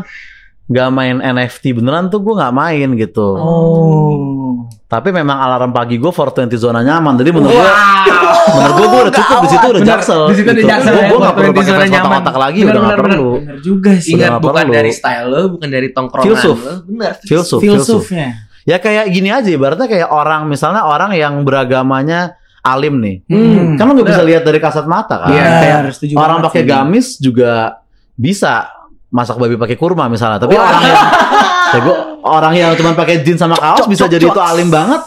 Speaker 2: nggak main NFT beneran tuh gua nggak main gitu.
Speaker 5: Oh.
Speaker 2: Tapi memang alarm pagi gue 420 zona nyaman. Jadi menurut gue, menurut gue gue udah cukup di situ udah
Speaker 4: Bener,
Speaker 2: jaksel.
Speaker 4: di situ udah jaksel ya,
Speaker 2: Gue nggak perlu
Speaker 4: 420
Speaker 2: pakai
Speaker 4: zona
Speaker 2: fans
Speaker 4: nyaman.
Speaker 2: otak-otak lagi,
Speaker 4: Bener,
Speaker 2: udah nggak
Speaker 4: bener, bener.
Speaker 2: perlu.
Speaker 5: Bener juga sih.
Speaker 2: Sudah
Speaker 4: Ingat
Speaker 2: nggak
Speaker 4: bukan
Speaker 2: perlu.
Speaker 4: dari style lo, bukan dari tongkrongan
Speaker 2: Filsuf.
Speaker 4: lo. Benar.
Speaker 2: Filsuf, filsuf.
Speaker 5: Filsufnya.
Speaker 2: Ya kayak gini aja, ibaratnya kayak orang misalnya orang yang beragamanya alim nih.
Speaker 5: Hmm.
Speaker 2: Kan lo nggak bisa lihat dari kasat mata kan.
Speaker 4: Iya.
Speaker 2: Kayak
Speaker 5: Bener, setuju
Speaker 2: orang
Speaker 5: banget
Speaker 2: pakai
Speaker 5: sih.
Speaker 2: gamis juga bisa masak babi pakai kurma misalnya. Tapi orang yang ya gua- orang yang cuma pakai jeans sama kaos bisa jadi itu alim banget.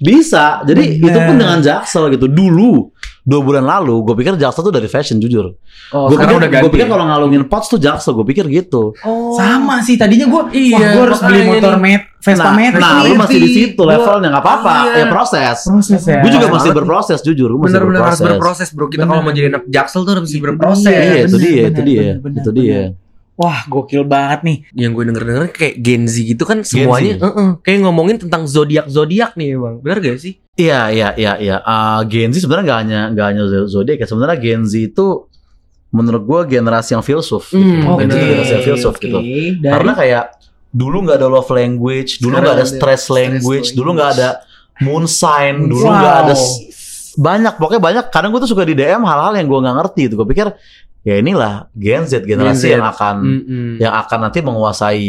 Speaker 2: Bisa. Jadi
Speaker 5: Bener.
Speaker 2: itu pun dengan jaksel gitu. Dulu dua bulan lalu gue pikir jaksel tuh dari fashion jujur.
Speaker 4: Oh,
Speaker 2: gue
Speaker 4: sekarang
Speaker 2: pikir,
Speaker 4: udah
Speaker 2: gua
Speaker 4: ganti.
Speaker 2: pikir kalau ngalungin pots tuh jaksel. Gue pikir gitu.
Speaker 5: Oh. Sama sih tadinya gue
Speaker 4: Iya,
Speaker 5: wah, gue harus beli
Speaker 4: makanya
Speaker 5: motor
Speaker 4: nih.
Speaker 5: met Vespa
Speaker 2: nah,
Speaker 5: Matic
Speaker 2: nah lu
Speaker 5: nih.
Speaker 2: masih di situ
Speaker 4: Gua-
Speaker 2: levelnya nggak apa-apa.
Speaker 4: Iya.
Speaker 2: Ya proses.
Speaker 5: Proses ya.
Speaker 2: Gue juga
Speaker 4: Proses
Speaker 2: masih
Speaker 4: banget.
Speaker 2: berproses jujur. Gue masih
Speaker 4: Bener-bener harus
Speaker 2: berproses.
Speaker 4: berproses bro. Kita kalau mau jadi anak jaksel tuh harus berproses.
Speaker 2: Iya, itu
Speaker 5: Bener,
Speaker 2: dia, itu
Speaker 5: bener,
Speaker 2: dia,
Speaker 5: bener,
Speaker 2: itu
Speaker 5: bener,
Speaker 2: dia.
Speaker 5: Wah gokil banget nih.
Speaker 4: Yang gue denger-denger kayak Gen Z gitu kan semuanya eh-eh, kayak ngomongin tentang zodiak-zodiak nih bang. Benar gak sih?
Speaker 2: Iya, iya, iya, iya. Eh, Gen Z sebenarnya nggak hanya nggak hanya zo- zodiak ya. Sebenarnya Gen Z itu menurut gua generasi yang filsuf. gitu.
Speaker 4: Hmm,
Speaker 2: Gen Z
Speaker 4: bener.
Speaker 2: itu generasi yang filsuf
Speaker 5: oke.
Speaker 2: gitu.
Speaker 5: Dari-
Speaker 2: Karena kayak dulu nggak ada love language, dulu
Speaker 4: Sekarang
Speaker 2: nggak ada
Speaker 4: ada
Speaker 2: stress
Speaker 4: stress
Speaker 2: language, dulu nggak ada moon sign, dulu
Speaker 5: Wow.
Speaker 2: nggak ada s- banyak pokoknya banyak. Kadang gua tuh suka di DM hal-hal yang gua nggak ngerti itu. Gua pikir ya inilah Gen Z generasi
Speaker 4: Gen Z. Hmm.
Speaker 2: yang akan
Speaker 4: Mm-mm.
Speaker 2: yang akan nanti menguasai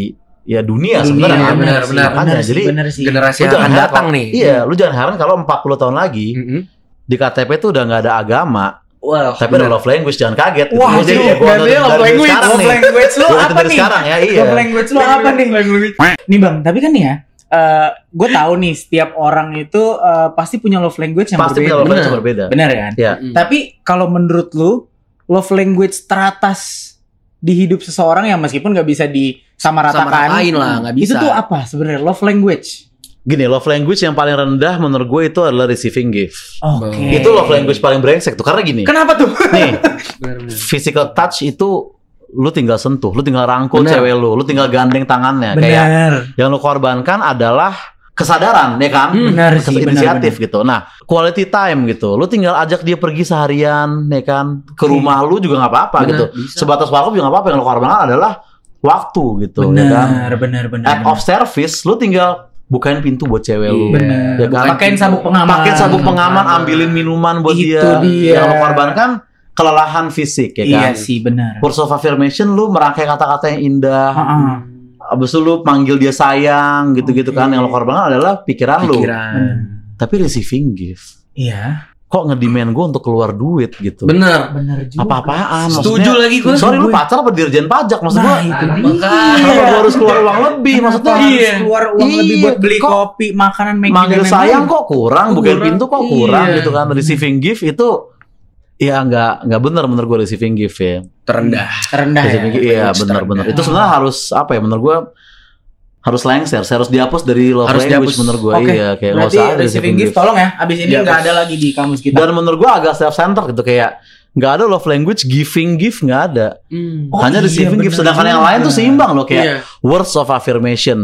Speaker 2: ya dunia,
Speaker 5: Dunia,
Speaker 2: sebenarnya.
Speaker 4: benar,
Speaker 2: Makanya,
Speaker 4: benar.
Speaker 2: Makanya,
Speaker 5: sih,
Speaker 2: jadi
Speaker 5: bener sih.
Speaker 4: Generasi
Speaker 2: lu
Speaker 4: yang
Speaker 2: jangan
Speaker 4: akan
Speaker 2: heran
Speaker 4: datang
Speaker 2: kalau-
Speaker 4: nih.
Speaker 2: Iya,
Speaker 5: Hmm.
Speaker 2: lu jangan heran kalau 40 tahun lagi
Speaker 4: Mm-mm.
Speaker 2: di KTP tuh udah nggak ada agama,
Speaker 5: Oh,
Speaker 4: Wah,
Speaker 2: tapi
Speaker 4: bener.
Speaker 2: ada love language jangan kaget.
Speaker 5: Wah,
Speaker 2: Gua jadi
Speaker 5: jadi
Speaker 2: ya, gua
Speaker 5: berarti
Speaker 2: dari-
Speaker 5: love
Speaker 2: dari
Speaker 5: language,
Speaker 2: sekarang
Speaker 5: love
Speaker 2: nih.
Speaker 5: language lu
Speaker 2: Gua
Speaker 5: apa
Speaker 2: dari
Speaker 5: nih?
Speaker 2: sekarang ya, iya.
Speaker 5: Love language lu apa nih? Nih bang, tapi kan nih ya, eh gue tahu nih setiap orang itu eh, pasti punya love language yang
Speaker 2: Pasti punya
Speaker 5: berbeda.
Speaker 2: love language yang berbeda.
Speaker 5: Bener kan?
Speaker 2: Iya.
Speaker 4: Mm-mm.
Speaker 5: Tapi kalau menurut lu love language teratas di hidup seseorang yang meskipun nggak bisa disamaratakan,
Speaker 4: Samaratain lah, nggak
Speaker 5: itu
Speaker 4: bisa.
Speaker 5: tuh apa sebenarnya love language?
Speaker 2: Gini, love language yang paling rendah menurut gue itu adalah receiving gift.
Speaker 5: Oke.
Speaker 2: Itu love language paling brengsek tuh karena gini.
Speaker 5: Kenapa tuh?
Speaker 2: Nih,
Speaker 4: Bener-bener.
Speaker 2: physical touch itu lu tinggal sentuh, lu tinggal rangkul
Speaker 4: Bener.
Speaker 2: cewek lu, lu tinggal gandeng tangannya Nah, kayak gitu,
Speaker 5: Bener,
Speaker 2: yang lu korbankan adalah kesadaran ya kan
Speaker 4: Hmm,
Speaker 5: benar
Speaker 2: Kes-
Speaker 5: sih, benar,
Speaker 2: inisiatif gitu nah quality time gitu lu tinggal ajak dia pergi seharian ya kan ke rumah
Speaker 5: Hmm.
Speaker 2: lu juga nggak apa-apa
Speaker 4: Bener,
Speaker 2: gitu
Speaker 4: bisa.
Speaker 2: sebatas waktu juga nggak apa-apa yang lu korbankan adalah waktu gitu ya kan
Speaker 5: benar, benar, benar.
Speaker 2: act of service lu tinggal bukain pintu buat cewek lu ya
Speaker 5: Bener.
Speaker 2: kan
Speaker 5: Pakaiin sabuk pengaman.
Speaker 2: pakai sabuk pengaman
Speaker 4: Pengaman.
Speaker 2: ambilin minuman buat
Speaker 5: Itu
Speaker 2: dia.
Speaker 5: dia.
Speaker 2: yang lu korbankan kelelahan fisik ya
Speaker 5: Iya
Speaker 2: kan
Speaker 5: sih, benar.
Speaker 2: Words of affirmation lu merangkai kata-kata yang indah
Speaker 5: Heeh.
Speaker 2: Abis itu lu panggil dia sayang gitu-gitu
Speaker 5: Oke.
Speaker 2: kan Yang lo korbankan adalah pikiran,
Speaker 4: Pikiran.
Speaker 5: Benar.
Speaker 2: lu Tapi receiving gift
Speaker 5: Iya,
Speaker 2: Kok ngedemand gue untuk keluar duit gitu
Speaker 4: Bener.
Speaker 5: benar juga.
Speaker 2: Apa-apaan
Speaker 4: Setuju
Speaker 2: maksudnya,
Speaker 4: lagi gue.
Speaker 2: Sorry lu pacar apa dirjen pajak Maksud gue
Speaker 5: Nah, itu
Speaker 4: Kenapa
Speaker 5: dia. Iya.
Speaker 2: Kenapa gue harus keluar uang lebih
Speaker 5: Kenapa
Speaker 2: Maksudnya
Speaker 5: harus
Speaker 4: Iya.
Speaker 5: keluar uang lebih
Speaker 2: Iya,
Speaker 5: buat beli
Speaker 2: kok-
Speaker 5: kopi, makanan, Maggi,
Speaker 2: Manggil
Speaker 5: dan
Speaker 2: sayang
Speaker 5: lain-lain?
Speaker 2: kok kurang Bukain
Speaker 4: Kurang,
Speaker 2: pintu kok kurang
Speaker 4: iya.
Speaker 2: gitu kan Receiving gift itu Ya nggak nggak benar menurut gue receiving gift ya.
Speaker 4: Terendah.
Speaker 5: rendah ya.
Speaker 2: Receiving gift, iya
Speaker 4: Standar.
Speaker 2: benar-benar.
Speaker 4: Eh.
Speaker 2: Itu sebenarnya harus apa ya menurut gue harus lengser, harus dihapus dari love
Speaker 4: Harus
Speaker 2: language
Speaker 4: dihapus.
Speaker 2: menurut gue.
Speaker 5: Oke,
Speaker 2: Iya kayak nggak
Speaker 5: Berarti
Speaker 2: usah ada
Speaker 5: receiving gift tolong ya. Abis ini
Speaker 4: Iya,
Speaker 5: nggak
Speaker 4: Bos.
Speaker 5: ada lagi di kamus kita.
Speaker 2: dan menurut gua agak self center gitu kayak nggak ada love language giving gift nggak ada
Speaker 4: Hmm.
Speaker 5: Oh,
Speaker 2: hanya
Speaker 5: iya,
Speaker 2: receiving gift
Speaker 5: bener
Speaker 2: sedangkan yang
Speaker 5: juga.
Speaker 2: lain tuh seimbang loh
Speaker 4: Iya.
Speaker 2: kayak words of affirmation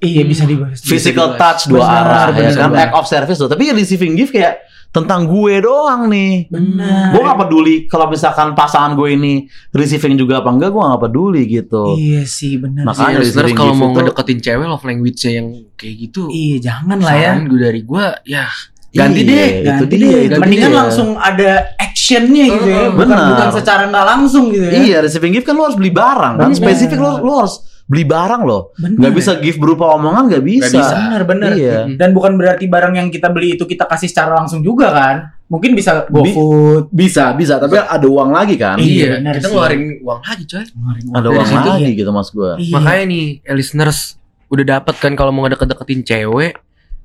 Speaker 5: Iya bisa dibahas.
Speaker 2: physical
Speaker 4: dibahas.
Speaker 2: touch dua
Speaker 5: Benar,
Speaker 2: arah ya
Speaker 5: benar,
Speaker 2: kan
Speaker 5: benar.
Speaker 2: act of service tuh tapi receiving gift kayak tentang gue doang nih
Speaker 5: Benar.
Speaker 2: Gua gak peduli kalau misalkan pasangan gue ini receiving juga apa enggak gua gak peduli gitu
Speaker 5: Iya sih benar.
Speaker 2: Makanya-
Speaker 5: sih.
Speaker 4: Makanya
Speaker 2: Makanya
Speaker 4: listeners
Speaker 2: receiving
Speaker 4: kalau
Speaker 2: gift
Speaker 4: mau
Speaker 2: itu-
Speaker 4: ngedeketin cewek love language-nya yang kayak gitu.
Speaker 5: Iya jangan lah ya.
Speaker 4: saran gue dari gue ya ganti
Speaker 2: Iya,
Speaker 4: deh.
Speaker 2: itu
Speaker 5: Ganti
Speaker 2: dia
Speaker 5: deh.
Speaker 2: itu
Speaker 5: Mendingan
Speaker 2: dia.
Speaker 5: langsung ada actionnya gitu ya.
Speaker 4: Mm-mm.
Speaker 5: Bukan,
Speaker 2: Benar.
Speaker 5: bukan secara nggak langsung gitu ya.
Speaker 2: iya receiving gift kan lu harus beli barang kan
Speaker 5: Benar.
Speaker 2: spesifik lu, lu harus beli barang loh
Speaker 5: Benar.
Speaker 2: nggak bisa gift berupa omongan nggak bisa,
Speaker 4: bisa.
Speaker 5: Benar benar.
Speaker 2: iya
Speaker 5: Dan bukan berarti barang yang kita beli itu kita kasih secara langsung juga kan. Mungkin bisa
Speaker 2: Bi-
Speaker 5: GoFood.
Speaker 2: Bisa, bisa, tapi ada uang lagi kan?
Speaker 5: Iya,
Speaker 4: Iya,
Speaker 5: benar
Speaker 4: kita
Speaker 5: sih.
Speaker 4: ngeluarin uang lagi coy.
Speaker 2: Ada
Speaker 4: Dari
Speaker 2: uang
Speaker 4: situ.
Speaker 2: lagi gitu mas gue.
Speaker 5: Iya.
Speaker 4: Makanya nih, eh, listeners udah dapet kan kalau mau ngedeket-deketin cewek,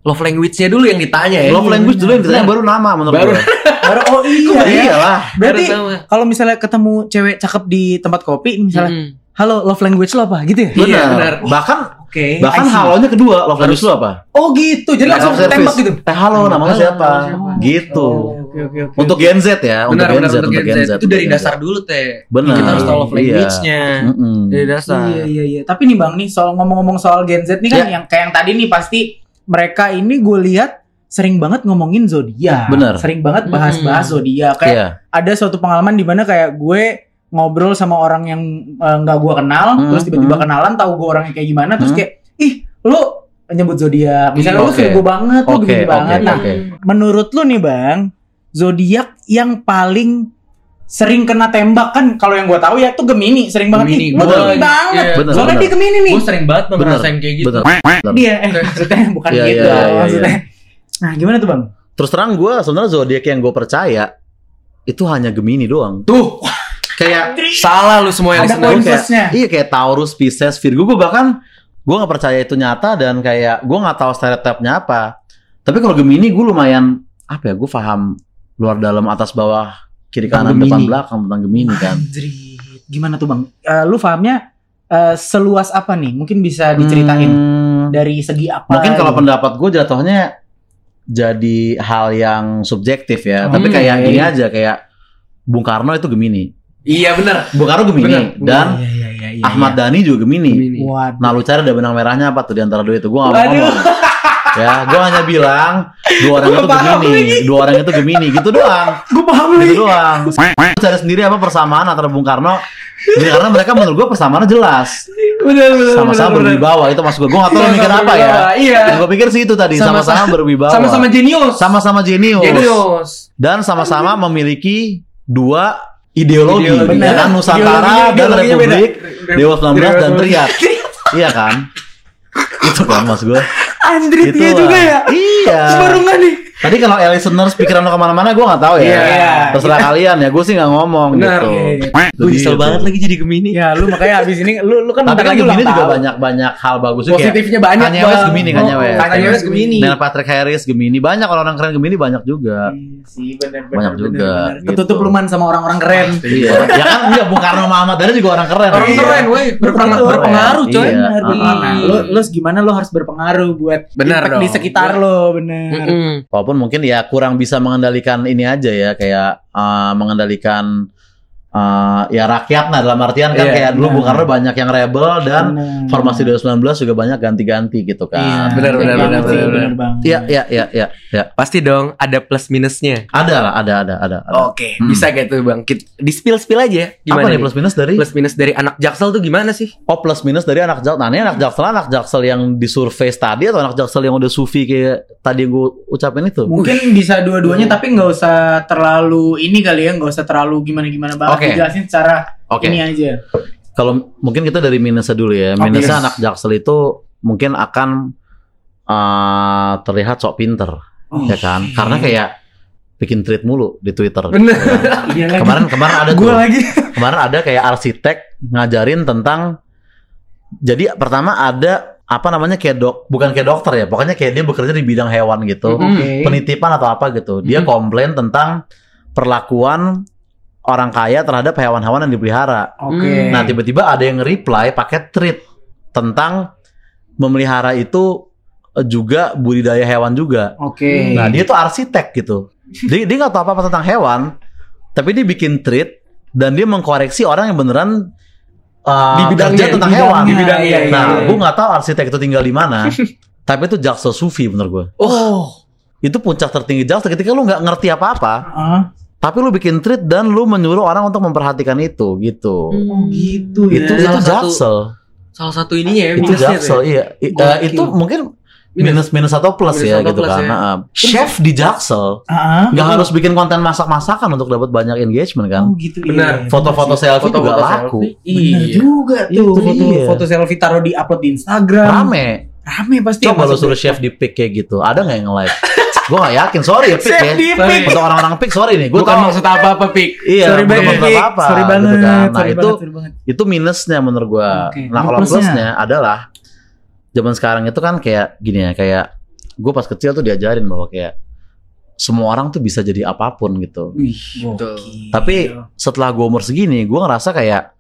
Speaker 4: love language-nya dulu yang ditanya ya.
Speaker 2: Love language dulu yang ditanya baru nama menurut
Speaker 4: Baru-
Speaker 2: gue.
Speaker 5: Baru oh iya.
Speaker 2: Iya, lah.
Speaker 5: Berarti
Speaker 4: Harus sama.
Speaker 5: kalau misalnya ketemu cewek cakep di tempat kopi misalnya,
Speaker 4: Mm-mm.
Speaker 5: "Halo, love language lo apa?" gitu ya?
Speaker 4: Iya,
Speaker 2: Benar.
Speaker 4: benar.
Speaker 2: Bahkan
Speaker 5: Oke.
Speaker 2: bahkan
Speaker 5: I see.
Speaker 2: halonya kedua love language lu apa?
Speaker 5: Oh gitu. Jadi langsung
Speaker 2: Love service.
Speaker 5: tembak gitu.
Speaker 2: Teh halo namanya
Speaker 4: Halo,
Speaker 2: siapa?
Speaker 4: nama siapa? Oh.
Speaker 2: Gitu.
Speaker 5: Oke oke oke.
Speaker 2: Untuk Gen Z ya,
Speaker 4: Benar,
Speaker 2: untuk Gen
Speaker 4: benar,
Speaker 2: Z,
Speaker 4: untuk Gen Z. Itu
Speaker 2: untuk
Speaker 4: dari
Speaker 2: Gen Z.
Speaker 4: dasar dulu, Teh.
Speaker 2: Benar.
Speaker 4: Kita harus tahu love
Speaker 2: Iya.
Speaker 4: language-nya.
Speaker 2: Mm-mm.
Speaker 4: Dari dasar.
Speaker 5: Iya iya iya. Tapi nih Bang nih soal ngomong-ngomong soal Gen Z nih
Speaker 2: Ya.
Speaker 5: kan yang kayak yang tadi nih pasti mereka ini gue lihat sering banget ngomongin zodiak.
Speaker 2: Bener.
Speaker 5: Sering banget bahas-bahas zodiak kayak
Speaker 2: Iya.
Speaker 5: ada suatu pengalaman di mana kayak gue ngobrol sama orang yang eh, nggak gue kenal,
Speaker 2: Hmm,
Speaker 5: terus tiba-tiba
Speaker 2: hmm.
Speaker 5: kenalan, tahu gue orangnya kayak gimana, terus
Speaker 2: Hmm.
Speaker 5: kayak ih lu nyebut zodiak, misalnya lu
Speaker 2: Iya, Oke.
Speaker 5: Virgo banget, lu
Speaker 2: Oke,
Speaker 5: begini
Speaker 2: oke,
Speaker 5: banget. Nah,
Speaker 2: oke.
Speaker 5: menurut lu nih bang, zodiak yang paling sering kena tembak kan kalau yang gue tahu ya tuh Gemini sering banget
Speaker 4: Gemini,
Speaker 5: nih
Speaker 4: gua
Speaker 5: betul
Speaker 4: lagi-
Speaker 5: banget
Speaker 4: iya.
Speaker 2: Bener,
Speaker 5: soalnya
Speaker 2: bener.
Speaker 5: dia Gemini nih
Speaker 4: Gue sering banget
Speaker 2: Benar.
Speaker 4: ngerasain kayak gitu.
Speaker 2: Bener.
Speaker 5: dia eh, maksudnya bukan
Speaker 2: Iya,
Speaker 5: gitu
Speaker 2: iya, iya,
Speaker 5: maksudnya nah gimana tuh bang
Speaker 2: Terus terang gue sebenarnya zodiak yang gue percaya itu hanya Gemini doang.
Speaker 4: Tuh,
Speaker 2: Kayak
Speaker 4: salah lu semua yang
Speaker 5: ada
Speaker 4: listener.
Speaker 5: poin
Speaker 2: kayak-
Speaker 5: plusnya
Speaker 2: iya kayak Taurus, Pisces, Virgo. Gue bahkan gue nggak percaya itu nyata dan kayak gue nggak tahu stereotipnya apa. Tapi kalau Gemini gue lumayan apa ya? Gue paham luar dalam atas bawah kiri
Speaker 4: Tentang
Speaker 2: kanan depan
Speaker 4: Gemini.
Speaker 2: belakang tentang Gemini kan.
Speaker 5: Anjrit. gimana tuh bang? Eh, lu fahamnya eh, seluas apa nih? Mungkin bisa diceritain
Speaker 2: Hmm,
Speaker 5: dari segi apa?
Speaker 2: mungkin kalau
Speaker 5: gitu.
Speaker 2: pendapat gue jatuhnya jadi hal yang subjektif ya. Tapi
Speaker 4: Hmm,
Speaker 2: kayak
Speaker 4: iya,
Speaker 2: gini
Speaker 4: iya.
Speaker 2: aja kayak Bung Karno itu Gemini.
Speaker 4: Iya, bener.
Speaker 2: Bung Karno Gemini
Speaker 4: Benar, Bung
Speaker 2: dan
Speaker 5: Iya, iya, iya, iya,
Speaker 2: Ahmad Dhani juga Gemini.
Speaker 4: Gemini.
Speaker 5: Waduh.
Speaker 2: Nah lu cari ada benang merahnya apa tuh di antara dua itu? Gue gak mau
Speaker 5: Waduh.
Speaker 2: ngomong. Ya, gue hanya bilang dua orang
Speaker 5: Gua
Speaker 2: itu
Speaker 5: paham
Speaker 2: Gemini,
Speaker 5: lagi.
Speaker 2: dua orang itu Gemini, gitu doang,
Speaker 5: Gue paham
Speaker 2: gitu
Speaker 5: lagi.
Speaker 2: doang. Lu cari sendiri apa persamaan antara Bung Karno? Bung Karno mereka menurut gue persamaannya jelas,
Speaker 5: Bener, bener,
Speaker 2: sama-sama
Speaker 5: bener, bener.
Speaker 2: berwibawa itu maksud gue. Gue gak tau lu mikir apa ya.
Speaker 4: Iya.
Speaker 2: Gue pikir sih itu tadi sama-sama
Speaker 4: Sama-sama-
Speaker 2: berwibawa,
Speaker 4: Sama-sama jenius.
Speaker 2: sama-sama jenius,
Speaker 4: Jenius.
Speaker 2: dan sama-sama memiliki dua ideologi,
Speaker 4: Ideologi.
Speaker 2: ya kan?
Speaker 5: Benar.
Speaker 2: Nusantara
Speaker 5: Ideologinya-
Speaker 2: dan
Speaker 5: ideologinya beda.
Speaker 2: Republik. Dewa 19 dan
Speaker 4: Dewa
Speaker 2: Triad. iya kan? Itu kan mas gue.
Speaker 5: Andrit
Speaker 2: Itu
Speaker 5: dia
Speaker 2: lah.
Speaker 5: juga ya.
Speaker 2: Iya.
Speaker 5: Baru nggak nih?
Speaker 2: Tadi kalau listeners pikiran lo kemana-mana gue nggak tahu ya.
Speaker 5: Iya.
Speaker 2: Terserah kalian ya. Gue sih nggak ngomong
Speaker 4: Benar.
Speaker 2: gitu.
Speaker 5: Iya,
Speaker 4: Gue nyesel
Speaker 2: Jadi
Speaker 4: banget
Speaker 2: gitu.
Speaker 4: lagi jadi Gemini.
Speaker 5: Ya lu makanya abis ini lu lu kan
Speaker 2: Tapi
Speaker 5: bentar
Speaker 2: kan
Speaker 5: lagi
Speaker 2: Gemini
Speaker 5: ulang
Speaker 2: juga
Speaker 5: tahun.
Speaker 2: banyak-banyak hal bagus
Speaker 5: Positifnya banyak.
Speaker 2: Kanye
Speaker 5: Bang.
Speaker 2: West Gemini, Kanye
Speaker 5: Oh,
Speaker 2: West.
Speaker 5: Kanye West Gemini.
Speaker 2: Dan Patrick Harris Gemini banyak kalau orang keren Gemini banyak juga.
Speaker 5: Iya sih, bener, bener,
Speaker 2: Banyak
Speaker 5: bener,
Speaker 2: juga,
Speaker 5: bener.
Speaker 2: gitu.
Speaker 5: Ketutup luman sama orang-orang keren.
Speaker 2: Iya. ya kan enggak Bung Karno sama Ahmad Dhani juga orang keren.
Speaker 4: Orang
Speaker 2: Iya.
Speaker 4: keren, woi. Berpengaruh,
Speaker 5: Betul.
Speaker 4: berpengaruh, coy.
Speaker 2: Iya.
Speaker 5: Bener, bener.
Speaker 4: Ah.
Speaker 5: Nah, Lu, lu gimana lu harus berpengaruh buat
Speaker 4: Bener
Speaker 5: impact di
Speaker 4: dong.
Speaker 5: sekitar
Speaker 2: Iya.
Speaker 5: lo, bener.
Speaker 4: Mm-mm.
Speaker 2: Walaupun mungkin ya kurang bisa mengendalikan ini aja ya kayak eh, mengendalikan eh, ya rakyat nah dalam artian kan
Speaker 4: Iya,
Speaker 2: kayak dulu
Speaker 5: iya.
Speaker 2: Bung Karno banyak yang rebel dan
Speaker 5: Bener.
Speaker 2: formasi 2019 juga banyak ganti-ganti gitu
Speaker 5: Iya,
Speaker 2: kan.
Speaker 4: benar, benar,
Speaker 5: banget
Speaker 4: benar,
Speaker 5: sih,
Speaker 4: benar,
Speaker 5: Iya, benar banget.
Speaker 2: Iya, iya, iya, iya, iya.
Speaker 4: Pasti dong ada plus minusnya.
Speaker 2: Ada lah, ada, ada, ada. ada.
Speaker 4: Oke,
Speaker 2: Hmm.
Speaker 4: bisa gitu bang. Kita di spill spill aja.
Speaker 2: Apa
Speaker 4: Gimana
Speaker 2: nih plus minus dari?
Speaker 4: plus minus dari anak Jaksel tuh gimana sih?
Speaker 2: Oh plus minus dari anak jaksel. Nah ini anak jaksel, anak jaksel yang di survei tadi atau anak jaksel yang udah sufi kayak tadi yang gue ucapin itu.
Speaker 5: Mungkin bisa dua-duanya tapi nggak usah terlalu ini kali ya, nggak usah terlalu gimana-gimana banget.
Speaker 2: Oke.
Speaker 5: Dijelasin secara
Speaker 2: Oke.
Speaker 5: ini aja.
Speaker 2: Kalau mungkin kita dari minusnya dulu ya. Minusnya
Speaker 5: yes.
Speaker 2: anak jaksel itu mungkin akan eh, terlihat sok pinter,
Speaker 5: Oh,
Speaker 2: ya
Speaker 5: Iya,
Speaker 2: kan? Karena kayak bikin tweet mulu di Twitter.
Speaker 4: Bener.
Speaker 5: Iya lagi.
Speaker 2: Kemarin kemarin ada
Speaker 5: Gua
Speaker 2: tuh.
Speaker 5: lagi.
Speaker 2: Kemarin ada kayak arsitek ngajarin tentang jadi pertama ada apa namanya kayak dok bukan kayak dokter ya pokoknya kayak dia bekerja di bidang hewan gitu
Speaker 5: Mm-hmm.
Speaker 4: Mm.
Speaker 2: penitipan atau apa gitu dia
Speaker 4: Mhm.
Speaker 2: komplain tentang perlakuan orang kaya terhadap hewan-hewan yang dipelihara
Speaker 5: Oke.
Speaker 4: Hmm.
Speaker 2: nah tiba-tiba ada yang reply pakai tweet tentang memelihara itu eh, juga budidaya hewan juga
Speaker 5: Oke.
Speaker 2: Nah dia tuh arsitek gitu. Dia dia nggak tahu apa-apa tentang hewan, tapi dia bikin treat dan dia mengkoreksi orang yang beneran uh,
Speaker 4: Di bidangnya,
Speaker 2: kerja tentang
Speaker 4: di
Speaker 2: hewan.
Speaker 4: bidangnya, Di bidangnya, iya, iya,
Speaker 2: Nah,
Speaker 4: iya.
Speaker 2: gue nggak tahu arsitek itu tinggal di mana. tapi itu jakso sufi menurut gue.
Speaker 5: Oh.
Speaker 2: Itu puncak tertinggi jakso ketika lu nggak ngerti apa-apa,
Speaker 5: Ah,
Speaker 2: tapi lu bikin treat dan lu menyuruh orang untuk memperhatikan itu gitu.
Speaker 5: oh gitu ya.
Speaker 2: Itu itu
Speaker 4: Hmm. Iya, Salah satu-
Speaker 2: jaksel.
Speaker 4: Salah satu ininya ya.
Speaker 2: Itu
Speaker 4: minusnya tuh
Speaker 2: jaksel
Speaker 4: ya.
Speaker 2: iya. I-
Speaker 5: Gokil.
Speaker 2: eh, itu mungkin minus minus atau plus
Speaker 4: Minus
Speaker 2: ya
Speaker 4: atau
Speaker 2: gitu
Speaker 4: plus
Speaker 2: kan.
Speaker 4: ya.
Speaker 2: Nah, Chef di jaksel
Speaker 5: Ah,
Speaker 2: nggak harus bikin konten masak-masakan untuk dapat banyak engagement kan
Speaker 5: Oh gitu. iya.
Speaker 4: Benar.
Speaker 2: foto-foto selfie
Speaker 4: Foto-foto
Speaker 2: juga
Speaker 4: selfie.
Speaker 2: laku
Speaker 5: Benar
Speaker 4: Iya.
Speaker 5: juga tuh
Speaker 2: Itu
Speaker 5: foto,
Speaker 2: iya.
Speaker 5: foto selfie taruh di upload di Instagram.
Speaker 2: rame
Speaker 5: Rame pasti.
Speaker 2: coba
Speaker 5: yang
Speaker 2: lo
Speaker 5: masuk.
Speaker 2: suruh chef di pick kayak gitu ada nggak yang like gue nggak yakin sorry ya pick
Speaker 5: Chef
Speaker 2: ya
Speaker 5: di pick.
Speaker 2: untuk orang-orang pick sorry nih gue
Speaker 4: Bukan
Speaker 2: tau
Speaker 4: maksud apa-apa, Pik.
Speaker 2: iya
Speaker 5: Sorry
Speaker 2: bukan
Speaker 5: banget.
Speaker 2: maksud apa-apa,
Speaker 5: Sorry
Speaker 2: gitu
Speaker 5: banget.
Speaker 2: kan. nah
Speaker 5: sorry
Speaker 2: itu
Speaker 5: banget, sorry banget.
Speaker 2: itu minusnya menurut gue
Speaker 5: Oke.
Speaker 2: nah
Speaker 5: Nah,
Speaker 2: kalau
Speaker 5: plusnya?
Speaker 2: plusnya adalah zaman sekarang itu kan kayak gini ya kayak gue pas kecil tuh diajarin bahwa kayak semua orang tuh bisa jadi apapun gitu.
Speaker 4: Betul.
Speaker 2: Tapi setelah gue umur segini, gue ngerasa kayak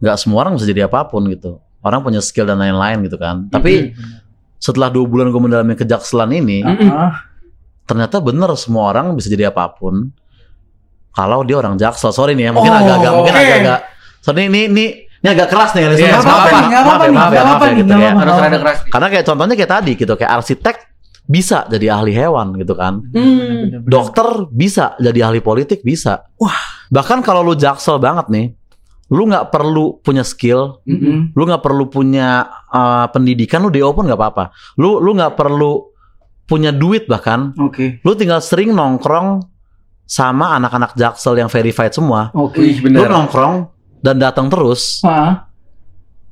Speaker 2: nggak semua orang bisa jadi apapun gitu. Orang punya skill dan lain-lain gitu kan. Tapi setelah dua bulan gue mendalami kejakselan ini,
Speaker 5: Ah,
Speaker 2: ternyata bener semua orang bisa jadi apapun. Kalau dia orang jaksel, sorry nih ya, mungkin
Speaker 5: Oh,
Speaker 2: agak-agak, mungkin
Speaker 5: oke.
Speaker 2: agak-agak. Sorry ini, ini, ini agak keras nih, listeners.
Speaker 4: Iya,
Speaker 5: nggak
Speaker 4: maaf
Speaker 5: apa-apa,
Speaker 4: ya,
Speaker 5: nggak apa-apa nih, nggak apa-apa nih,
Speaker 2: gitu
Speaker 5: nggak
Speaker 2: ya.
Speaker 5: apa-apa.
Speaker 4: Harus ada keras.
Speaker 2: Karena kayak contohnya kayak tadi gitu, kayak arsitek bisa jadi ahli hewan gitu kan. Dokter bisa jadi ahli politik bisa. Wah, bahkan kalau lu jaksel banget nih, lu nggak perlu punya skill,
Speaker 5: Mm-mm.
Speaker 2: lu nggak perlu punya uh, pendidikan, lu DO pun nggak apa-apa. Lu lu nggak perlu punya duit bahkan,
Speaker 5: Oke.
Speaker 2: lu tinggal sering nongkrong sama anak-anak jaksel yang verified semua.
Speaker 5: Oke.
Speaker 4: Wih,
Speaker 2: Lu
Speaker 4: bener.
Speaker 2: nongkrong dan datang terus.
Speaker 5: Ah,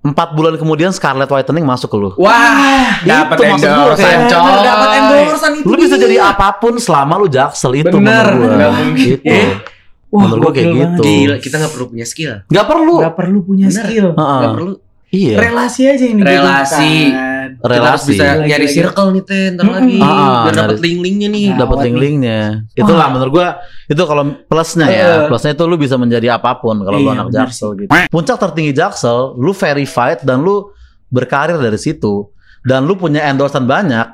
Speaker 2: Empat bulan kemudian Scarlet Whitening masuk ke lu.
Speaker 4: Wah, dapat
Speaker 2: Itu maksud gua,
Speaker 4: endorse
Speaker 5: Eh,
Speaker 2: kayak-
Speaker 4: coy.
Speaker 5: dapat endorsean itu.
Speaker 2: Lu bisa
Speaker 5: dia.
Speaker 2: jadi apapun selama lu jaksel itu
Speaker 4: Bener.
Speaker 2: menurut
Speaker 4: Nggak
Speaker 2: gua.
Speaker 4: mungkin. Eh?
Speaker 2: Gitu.
Speaker 5: Wah,
Speaker 2: Menurut gua kayak
Speaker 5: gokil
Speaker 2: gitu.
Speaker 5: banget.
Speaker 4: Gila, kita nggak perlu punya skill.
Speaker 2: Nggak perlu.
Speaker 5: Nggak perlu punya
Speaker 4: Bener.
Speaker 5: skill.
Speaker 2: Heeh.
Speaker 4: Nggak perlu.
Speaker 2: Iya.
Speaker 5: Relasi aja yang
Speaker 4: Relasi.
Speaker 5: dibutuhkan.
Speaker 4: Kita harus
Speaker 2: Relasi.
Speaker 4: bisa
Speaker 5: Gila,
Speaker 4: nyari
Speaker 5: gila,
Speaker 4: circle nih Ten, ntar
Speaker 5: Mm-mm.
Speaker 4: lagi.
Speaker 2: Ah,
Speaker 4: Biar dapat
Speaker 2: nyari-
Speaker 4: link-linknya nih.
Speaker 5: Nah.
Speaker 2: dapat
Speaker 5: Awet nih.
Speaker 2: link-linknya. Itulah menurut gua itu kalau plusnya ya.
Speaker 5: Eh.
Speaker 2: Plusnya itu lu bisa menjadi apapun kalau lu
Speaker 5: Iya,
Speaker 2: anak
Speaker 5: benar
Speaker 2: Jaksel gitu. Puncak tertinggi Jaksel, lu verified dan lu berkarir dari situ dan lu punya endorsean banyak.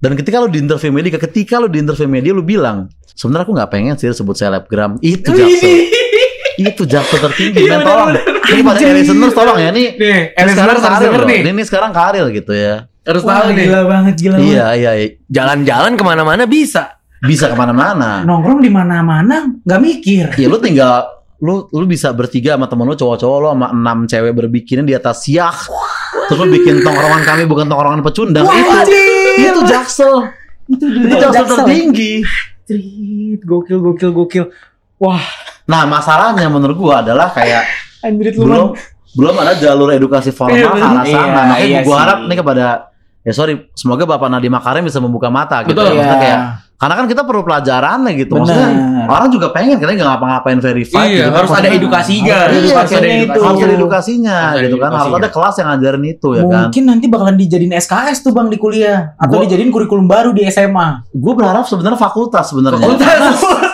Speaker 2: Dan ketika lu di interview media, ketika lu di interview media lu bilang, sebenarnya aku nggak pengen sih disebut selebgram. Itu Jaksel. itu Jaksel tertinggi.
Speaker 5: Iya,
Speaker 2: Men, tolong. Ini pada listeners tolong ya nih.
Speaker 5: Nih,
Speaker 2: Ini sekarang
Speaker 5: harus
Speaker 2: karir
Speaker 5: denger
Speaker 2: loh.
Speaker 5: nih.
Speaker 2: Ini, ini sekarang karir gitu ya.
Speaker 4: Harus
Speaker 5: Wah,
Speaker 4: tahu nih.
Speaker 5: gila banget, gila banget.
Speaker 2: Iya, iya, iya.
Speaker 4: Jalan-jalan kemana-mana bisa.
Speaker 2: Bisa kemana-mana.
Speaker 5: Nongkrong di mana-mana nggak mikir.
Speaker 2: ya lu tinggal lu lu bisa bertiga sama temen lu cowok-cowok lu sama enam cewek berbikini di atas siak terus lu bikin tongkrongan kami bukan tongkrongan pecundang itu
Speaker 5: anjir.
Speaker 2: itu jaksel
Speaker 5: Itu
Speaker 2: itu
Speaker 5: dulu
Speaker 2: jaksel tertinggi
Speaker 5: Street, gokil gokil gokil. Wah,
Speaker 2: nah masalahnya menurut gua adalah kayak
Speaker 5: Android lu
Speaker 2: belum Iya. belum ada jalur edukasi formal
Speaker 5: Iya,
Speaker 2: ke
Speaker 5: bener.
Speaker 2: arah sana
Speaker 3: Iya,
Speaker 2: makanya
Speaker 3: iya
Speaker 2: gua
Speaker 3: sih.
Speaker 2: harap nih kepada ya sorry semoga bapak Nadiem Makarim bisa membuka mata gitu ya.
Speaker 5: Iya.
Speaker 4: Betul.
Speaker 2: Maksudnya kayak karena kan kita perlu pelajarannya gitu maksudnya
Speaker 5: Bener.
Speaker 2: orang juga pengen karena nggak ngapa-ngapain verified gitu.
Speaker 4: Iya, harus
Speaker 2: Maksudnya-
Speaker 4: ada edukasinya.
Speaker 2: Iya,
Speaker 4: Harus
Speaker 5: maksudnya
Speaker 4: ada
Speaker 5: itu.
Speaker 4: edukasinya.
Speaker 2: harus ada edukasinya
Speaker 4: Harus ada
Speaker 2: gitu kan harus
Speaker 4: edukasinya.
Speaker 2: ada kelas yang ngajarin itu ya kan
Speaker 5: Mungkin nanti bakalan dijadiin SKS tuh Bang di kuliah atau
Speaker 2: Gua-
Speaker 5: dijadiin kurikulum baru di SMA.
Speaker 2: gue berharap sebenarnya fakultas sebenarnya
Speaker 4: Fakultas.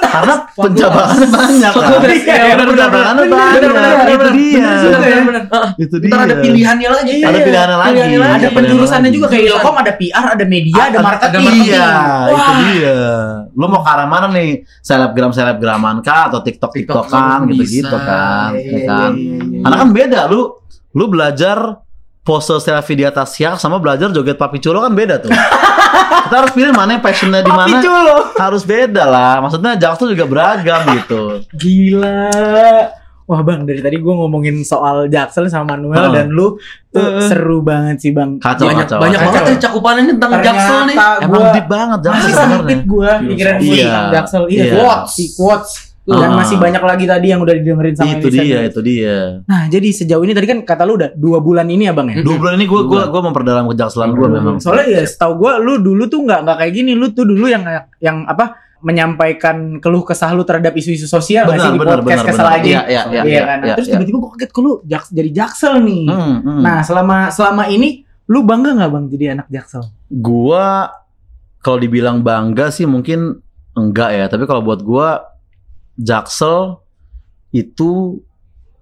Speaker 2: karena penjabarannya banyak kan
Speaker 4: Fakultas, iya, benar, benar,
Speaker 2: penjabarannya
Speaker 4: benar,
Speaker 2: banyak
Speaker 4: benar, benar,
Speaker 2: itu
Speaker 4: benar,
Speaker 2: dia
Speaker 4: Bener-bener.
Speaker 2: itu dia
Speaker 4: Ntar ada pilihannya lagi.
Speaker 2: Ada
Speaker 4: Iya.
Speaker 2: pilihannya lagi.
Speaker 4: Pilihannya
Speaker 5: Ada
Speaker 2: Ada
Speaker 5: penjurusannya
Speaker 2: lagi. Ah,
Speaker 5: juga kayak Ilkom ada PR, ada media, ada marketing.
Speaker 2: iya itu
Speaker 5: Wah.
Speaker 2: dia lu mau ke arah mana nih selebgram selebgraman kah atau tiktok tiktokan
Speaker 4: TikTok
Speaker 2: gitu gitu
Speaker 4: bisa.
Speaker 2: kan ya
Speaker 5: Iya,
Speaker 2: kan
Speaker 5: iya, iya, iya.
Speaker 2: karena kan beda lu lu belajar pose selfie di atas siak sama belajar joget papi culo kan beda tuh kita harus pilih mana yang passionnya di mana
Speaker 5: culo.
Speaker 2: harus beda lah maksudnya jaksel juga beragam gitu
Speaker 5: Gila. Wah bang, dari tadi gue ngomongin soal Jaksel sama Manuel
Speaker 2: Heeh.
Speaker 5: dan lu tuh
Speaker 4: Heeh.
Speaker 5: seru banget sih bang.
Speaker 2: kacau
Speaker 4: banyak
Speaker 2: kacau
Speaker 4: banyak
Speaker 2: kacau.
Speaker 4: banget ya cakupannya tentang jaksel nih.
Speaker 2: emang
Speaker 5: gua-
Speaker 2: deep banget jaksel
Speaker 5: masih
Speaker 2: sebenarnya
Speaker 5: sempit gue pikiran gue
Speaker 2: Iya.
Speaker 5: tentang Jaksel. Iya.
Speaker 2: Iya.
Speaker 5: Quotes, si quotes. Dan
Speaker 2: Ah.
Speaker 5: masih banyak lagi tadi yang udah didengerin sama
Speaker 2: itu
Speaker 5: Elisa
Speaker 2: dia
Speaker 5: dulu.
Speaker 2: itu dia
Speaker 5: Nah jadi sejauh ini tadi kan kata lu udah dua bulan ini ya bang ya.
Speaker 2: dua bulan ini gue gue gue memperdalam kejakselan gue memang
Speaker 5: Soalnya ya setahu gue lu dulu tuh nggak nggak kayak gini. Lu tuh dulu yang yang apa menyampaikan keluh kesah lu terhadap isu-isu sosial nggak
Speaker 2: benar
Speaker 5: sih di
Speaker 2: benar
Speaker 5: podcast
Speaker 2: benar
Speaker 5: kesel
Speaker 2: benar
Speaker 5: aja.
Speaker 2: iya iya iya
Speaker 5: Iya kan. Nah,
Speaker 2: iya,
Speaker 5: Terus
Speaker 2: iya.
Speaker 5: tiba-tiba gue kaget kok lu jaks- jadi jaksel nih.
Speaker 2: Hmm, hmm.
Speaker 5: Nah selama selama ini lu bangga nggak bang jadi anak jaksel?
Speaker 2: gua kalau dibilang bangga sih mungkin enggak ya tapi kalau buat gua Jaksel itu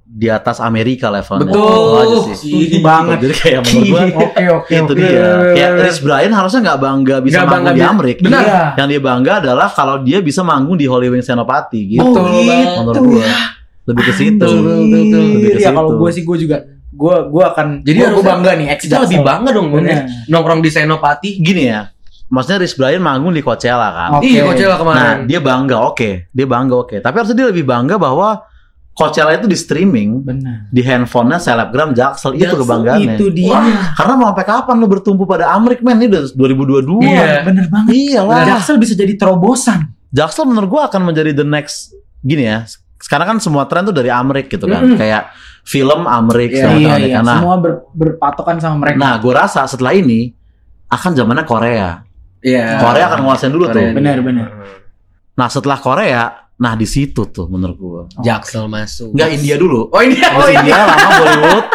Speaker 2: di atas Amerika levelnya Itu aja sih.
Speaker 5: Setuju banget.
Speaker 2: jadi kayak menurut gua
Speaker 5: Oke oke.
Speaker 2: itu
Speaker 5: oke.
Speaker 2: dia Ya, kayak Rich Brian harusnya nggak bangga bisa
Speaker 4: Nggak
Speaker 2: manggung
Speaker 4: bangga
Speaker 2: di
Speaker 4: bisa-
Speaker 2: Amerika
Speaker 5: Benar. Iya.
Speaker 2: yang dia bangga adalah kalau dia bisa manggung di Holy Wings Senopati gitu
Speaker 5: Oh, gitu.
Speaker 2: menurut gua lebih ke situ Gitu. Lebih ke
Speaker 5: Anjir, Ya kalau
Speaker 2: situ.
Speaker 5: gue sih gue juga gue gue akan
Speaker 4: Jadi
Speaker 5: gue
Speaker 4: harusnya-
Speaker 5: bangga nih ex
Speaker 4: Kita lebih
Speaker 5: Jaksel.
Speaker 4: bangga dong Bang, ya.
Speaker 5: Bener.
Speaker 4: nongkrong di Senopati.
Speaker 2: gini ya maksudnya Rich Brian manggung di Coachella kan
Speaker 5: Oke.
Speaker 4: Iya, Coachella
Speaker 2: nah
Speaker 4: kemarin.
Speaker 2: dia bangga oke dia bangga oke tapi harusnya dia lebih bangga bahwa Coachella itu di streaming
Speaker 5: Benar.
Speaker 2: di handphonenya selebgram Jaksel, itu kebanggaannya
Speaker 5: Itu dia.
Speaker 4: Wah,
Speaker 2: karena mau sampai kapan lu bertumpu pada Amrik men ini udah 2022
Speaker 4: Iya.
Speaker 5: Bener banget.
Speaker 2: iyalah
Speaker 5: Jaksel bisa jadi terobosan.
Speaker 2: Jaksel menurut gua akan menjadi the next gini ya. Sekarang kan semua tren tuh dari Amrik gitu kan. Kayak film Amrik segala macam Amrik. Nah,
Speaker 5: Iya, Semua ber- berpatokan sama mereka.
Speaker 2: nah gua rasa setelah ini akan zamannya Korea.
Speaker 4: Iya.
Speaker 2: Korea kan? akan nguasain dulu tuh.
Speaker 4: Korea.
Speaker 5: benar benar.
Speaker 2: Nah, setelah Korea, nah di situ tuh menurut gua.
Speaker 4: Jaksel masuk.
Speaker 2: Enggak India dulu.
Speaker 7: iya.
Speaker 4: Oh ini
Speaker 2: Habis India lama Bollywood.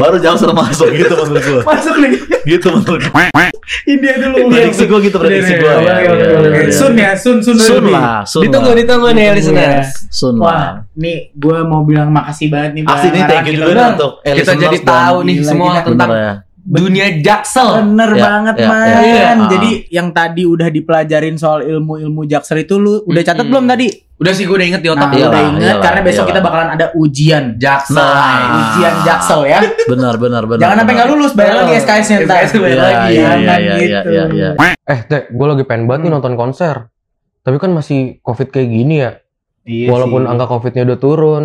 Speaker 2: Baru Jaksel masuk gitu menurut gua.
Speaker 7: Masuk nih.
Speaker 2: Gitu menurut
Speaker 7: Iya,
Speaker 2: gua.
Speaker 7: India dulu.
Speaker 2: Prediksi gua gitu prediksi gua.
Speaker 7: Iya, Oke,
Speaker 2: ya,
Speaker 7: oke,
Speaker 2: ya,
Speaker 7: oke.
Speaker 2: ya, ya.
Speaker 7: Sun ya, sun sun
Speaker 2: Sun
Speaker 7: lebih.
Speaker 2: lah, sun
Speaker 4: ditunggu
Speaker 2: lah.
Speaker 4: ditunggu nih
Speaker 5: Iya.
Speaker 4: listeners
Speaker 2: Sun lah.
Speaker 7: Wah, nih gue mau bilang makasih banget nih.
Speaker 2: Asli nih
Speaker 7: Bang
Speaker 2: thank
Speaker 7: Araki.
Speaker 2: you juga nih
Speaker 7: Bang,
Speaker 2: untuk
Speaker 4: kita
Speaker 2: listeners
Speaker 4: jadi
Speaker 2: dan-
Speaker 4: tahu nih
Speaker 7: Gila,
Speaker 4: semua
Speaker 7: kita-
Speaker 4: tentang
Speaker 2: Bener ya.
Speaker 4: dunia jaksel
Speaker 7: Bener
Speaker 2: Ya,
Speaker 7: banget
Speaker 2: ya,
Speaker 7: man.
Speaker 2: ya, ya.
Speaker 7: Jadi yang tadi udah dipelajarin soal ilmu-ilmu jakser itu lu udah catat
Speaker 8: Mm-mm.
Speaker 7: belum tadi?
Speaker 8: Udah sih gue udah inget di
Speaker 7: Nah,
Speaker 8: otak
Speaker 4: iya.
Speaker 2: Iyalah,
Speaker 7: udah inget
Speaker 2: iyalah,
Speaker 7: karena besok
Speaker 2: iyalah.
Speaker 7: kita bakalan ada ujian.
Speaker 8: Jaksel.
Speaker 2: Nah.
Speaker 7: ujian jaksel ya.
Speaker 2: Benar benar benar.
Speaker 7: Jangan sampai
Speaker 2: benar.
Speaker 7: nggak lulus, bayar lagi SKS-nya entar.
Speaker 8: SKS
Speaker 5: ya,
Speaker 2: bayar lagi. Iya,
Speaker 7: Jangan
Speaker 2: iya, iya, iya,
Speaker 7: gitu.
Speaker 2: iya, iya.
Speaker 4: eh teh gue lagi pengen banget nih nonton konser tapi kan masih covid kayak gini ya
Speaker 7: Iya
Speaker 4: walaupun
Speaker 7: sih.
Speaker 4: angka covidnya udah turun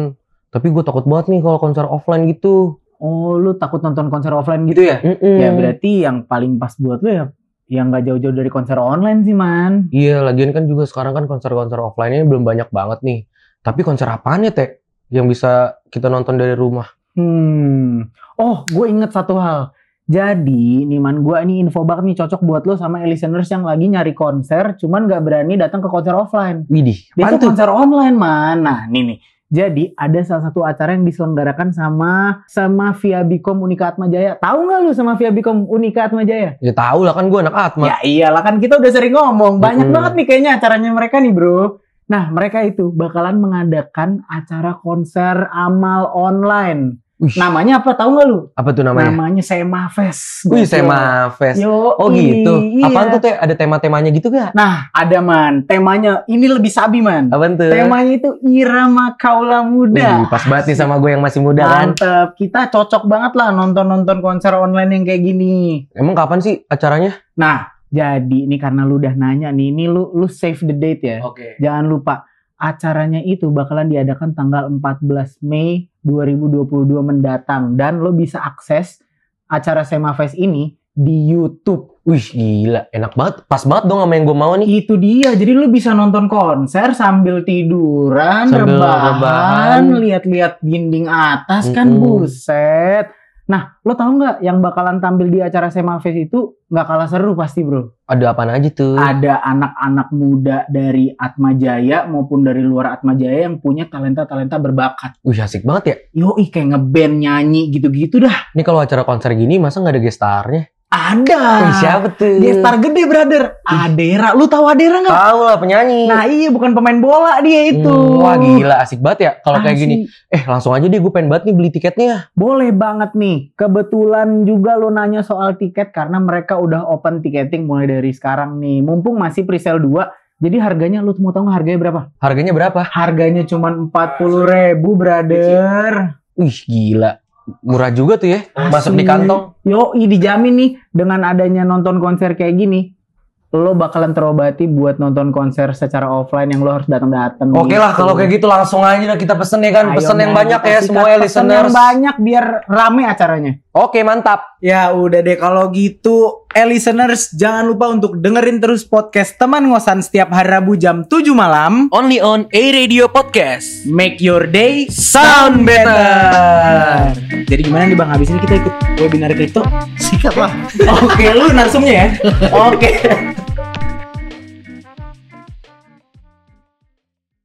Speaker 4: tapi gue takut banget nih kalau konser offline gitu
Speaker 5: Oh, lu takut nonton konser offline gitu ya?
Speaker 7: Hmm.
Speaker 4: Mm-mm.
Speaker 5: Ya berarti yang paling pas buat lu ya yang nggak jauh-jauh dari konser online sih, Man.
Speaker 4: Iya, lagian kan juga sekarang kan konser-konser offline-nya belum banyak banget nih. Tapi konser apaan ya, Teh? Yang bisa kita nonton dari rumah.
Speaker 5: Hmm. Oh, gue inget satu hal. Jadi, Niman gue ini info banget nih cocok buat lo sama listeners yang lagi nyari konser, cuman gak berani datang ke konser offline.
Speaker 4: Widih,
Speaker 5: Dia
Speaker 4: apaan
Speaker 5: tuh
Speaker 4: tuh?
Speaker 5: konser online mana? Nih nih. Jadi ada salah satu acara yang diselenggarakan sama sama Via Bicom Unika Atma Jaya. Tahu nggak lu sama Via Bicom Unika Atma Jaya?
Speaker 4: Ya tahu lah kan gue anak Atma.
Speaker 5: Ya iyalah kan kita udah sering ngomong. Banyak
Speaker 4: Mm-mm.
Speaker 5: banget nih kayaknya acaranya mereka nih, Bro. Nah, mereka itu bakalan mengadakan acara konser amal online.
Speaker 4: Wih,
Speaker 5: Namanya apa tahu nggak lu?
Speaker 4: apa tuh namanya?
Speaker 5: Namanya Sema Fest.
Speaker 4: Wih, Sema Fest.
Speaker 5: Yo,
Speaker 4: Oh gitu.
Speaker 5: Iya.
Speaker 4: Apaan tuh, Teh? Ada tema-temanya gitu gak?
Speaker 5: Nah, ada man. Temanya ini lebih sabi man.
Speaker 4: Apaan tuh?
Speaker 5: Temanya itu irama kaula
Speaker 4: Wih,
Speaker 5: muda.
Speaker 4: pas banget nih sama gue yang masih muda kan.
Speaker 5: Mantep. Kita cocok banget lah nonton-nonton konser online yang kayak gini.
Speaker 4: Emang kapan sih acaranya?
Speaker 5: Nah, jadi ini karena lu udah nanya nih, ini lu lu save the date
Speaker 4: Oh.
Speaker 5: ya.
Speaker 8: Oke.
Speaker 5: Jangan lupa acaranya itu bakalan diadakan tanggal 14 Mei 2022 mendatang dan lo bisa akses acara Sema Fest ini di YouTube.
Speaker 4: Wih, gila. Enak banget. Pas banget dong sama yang gue mau nih.
Speaker 5: Itu dia. Jadi lu bisa nonton konser sambil tiduran,
Speaker 4: Sambil
Speaker 5: rebahan,
Speaker 4: rebahan.
Speaker 5: lihat-lihat dinding atas kan
Speaker 4: Mm-mm.
Speaker 5: buset. Nah, lo tau nggak yang bakalan tampil di acara Sema Fest itu nggak kalah seru pasti bro.
Speaker 4: Ada apaan aja tuh?
Speaker 5: Ada anak-anak muda dari Atma Jaya maupun dari luar Atma Jaya yang punya talenta-talenta berbakat.
Speaker 4: Wih, asik banget ya.
Speaker 5: Yoi kayak ngeband nyanyi gitu-gitu dah.
Speaker 4: Ini kalau acara konser gini masa nggak ada gestarnya?
Speaker 5: Ada.
Speaker 4: Wih, siapa tuh?
Speaker 5: Dia Ah, star gede brother. Adera, lu tahu Adera nggak?
Speaker 4: Tahu lah penyanyi.
Speaker 5: Nah iya bukan pemain bola dia itu.
Speaker 4: Hmm, wah gila asik banget ya kalau kayak
Speaker 5: Asli.
Speaker 4: gini. Eh langsung aja deh gue pengen banget nih beli tiketnya.
Speaker 5: Boleh banget nih. Kebetulan juga lo nanya soal tiket karena mereka udah open ticketing mulai dari sekarang nih. Mumpung masih presale 2, jadi harganya lu mau tahu nggak harganya berapa?
Speaker 4: Harganya berapa?
Speaker 5: Harganya cuma 40 ribu, brother.
Speaker 4: Wih gila. Murah juga tuh ya. Masuk di
Speaker 5: Asli.
Speaker 4: kantong.
Speaker 5: Yoi, dijamin nih dengan adanya nonton konser kayak gini, lo bakalan terobati buat nonton konser secara offline yang lo harus datang-datang.
Speaker 4: Oke lah kalau kayak gitu langsung aja dah kita pesen ya kan.
Speaker 5: Ayo,
Speaker 4: Pesen yang
Speaker 5: Nat,
Speaker 4: banyak ya
Speaker 5: kasih
Speaker 4: semua
Speaker 5: kat-
Speaker 4: ya
Speaker 5: pesen yang
Speaker 4: listeners.
Speaker 5: banyak biar rame acaranya.
Speaker 4: Oke mantap.
Speaker 7: Ya udah deh kalau gitu eh listeners jangan lupa untuk dengerin terus podcast teman ngosan setiap hari Rabu jam 7 malam
Speaker 8: Only on A Radio Podcast.
Speaker 7: Make your day
Speaker 8: Sound better.
Speaker 7: Jadi gimana nih Bang habis ini kita ikut webinar kripto?
Speaker 2: Sikat lah.
Speaker 7: Oke lu narsumnya ya Oke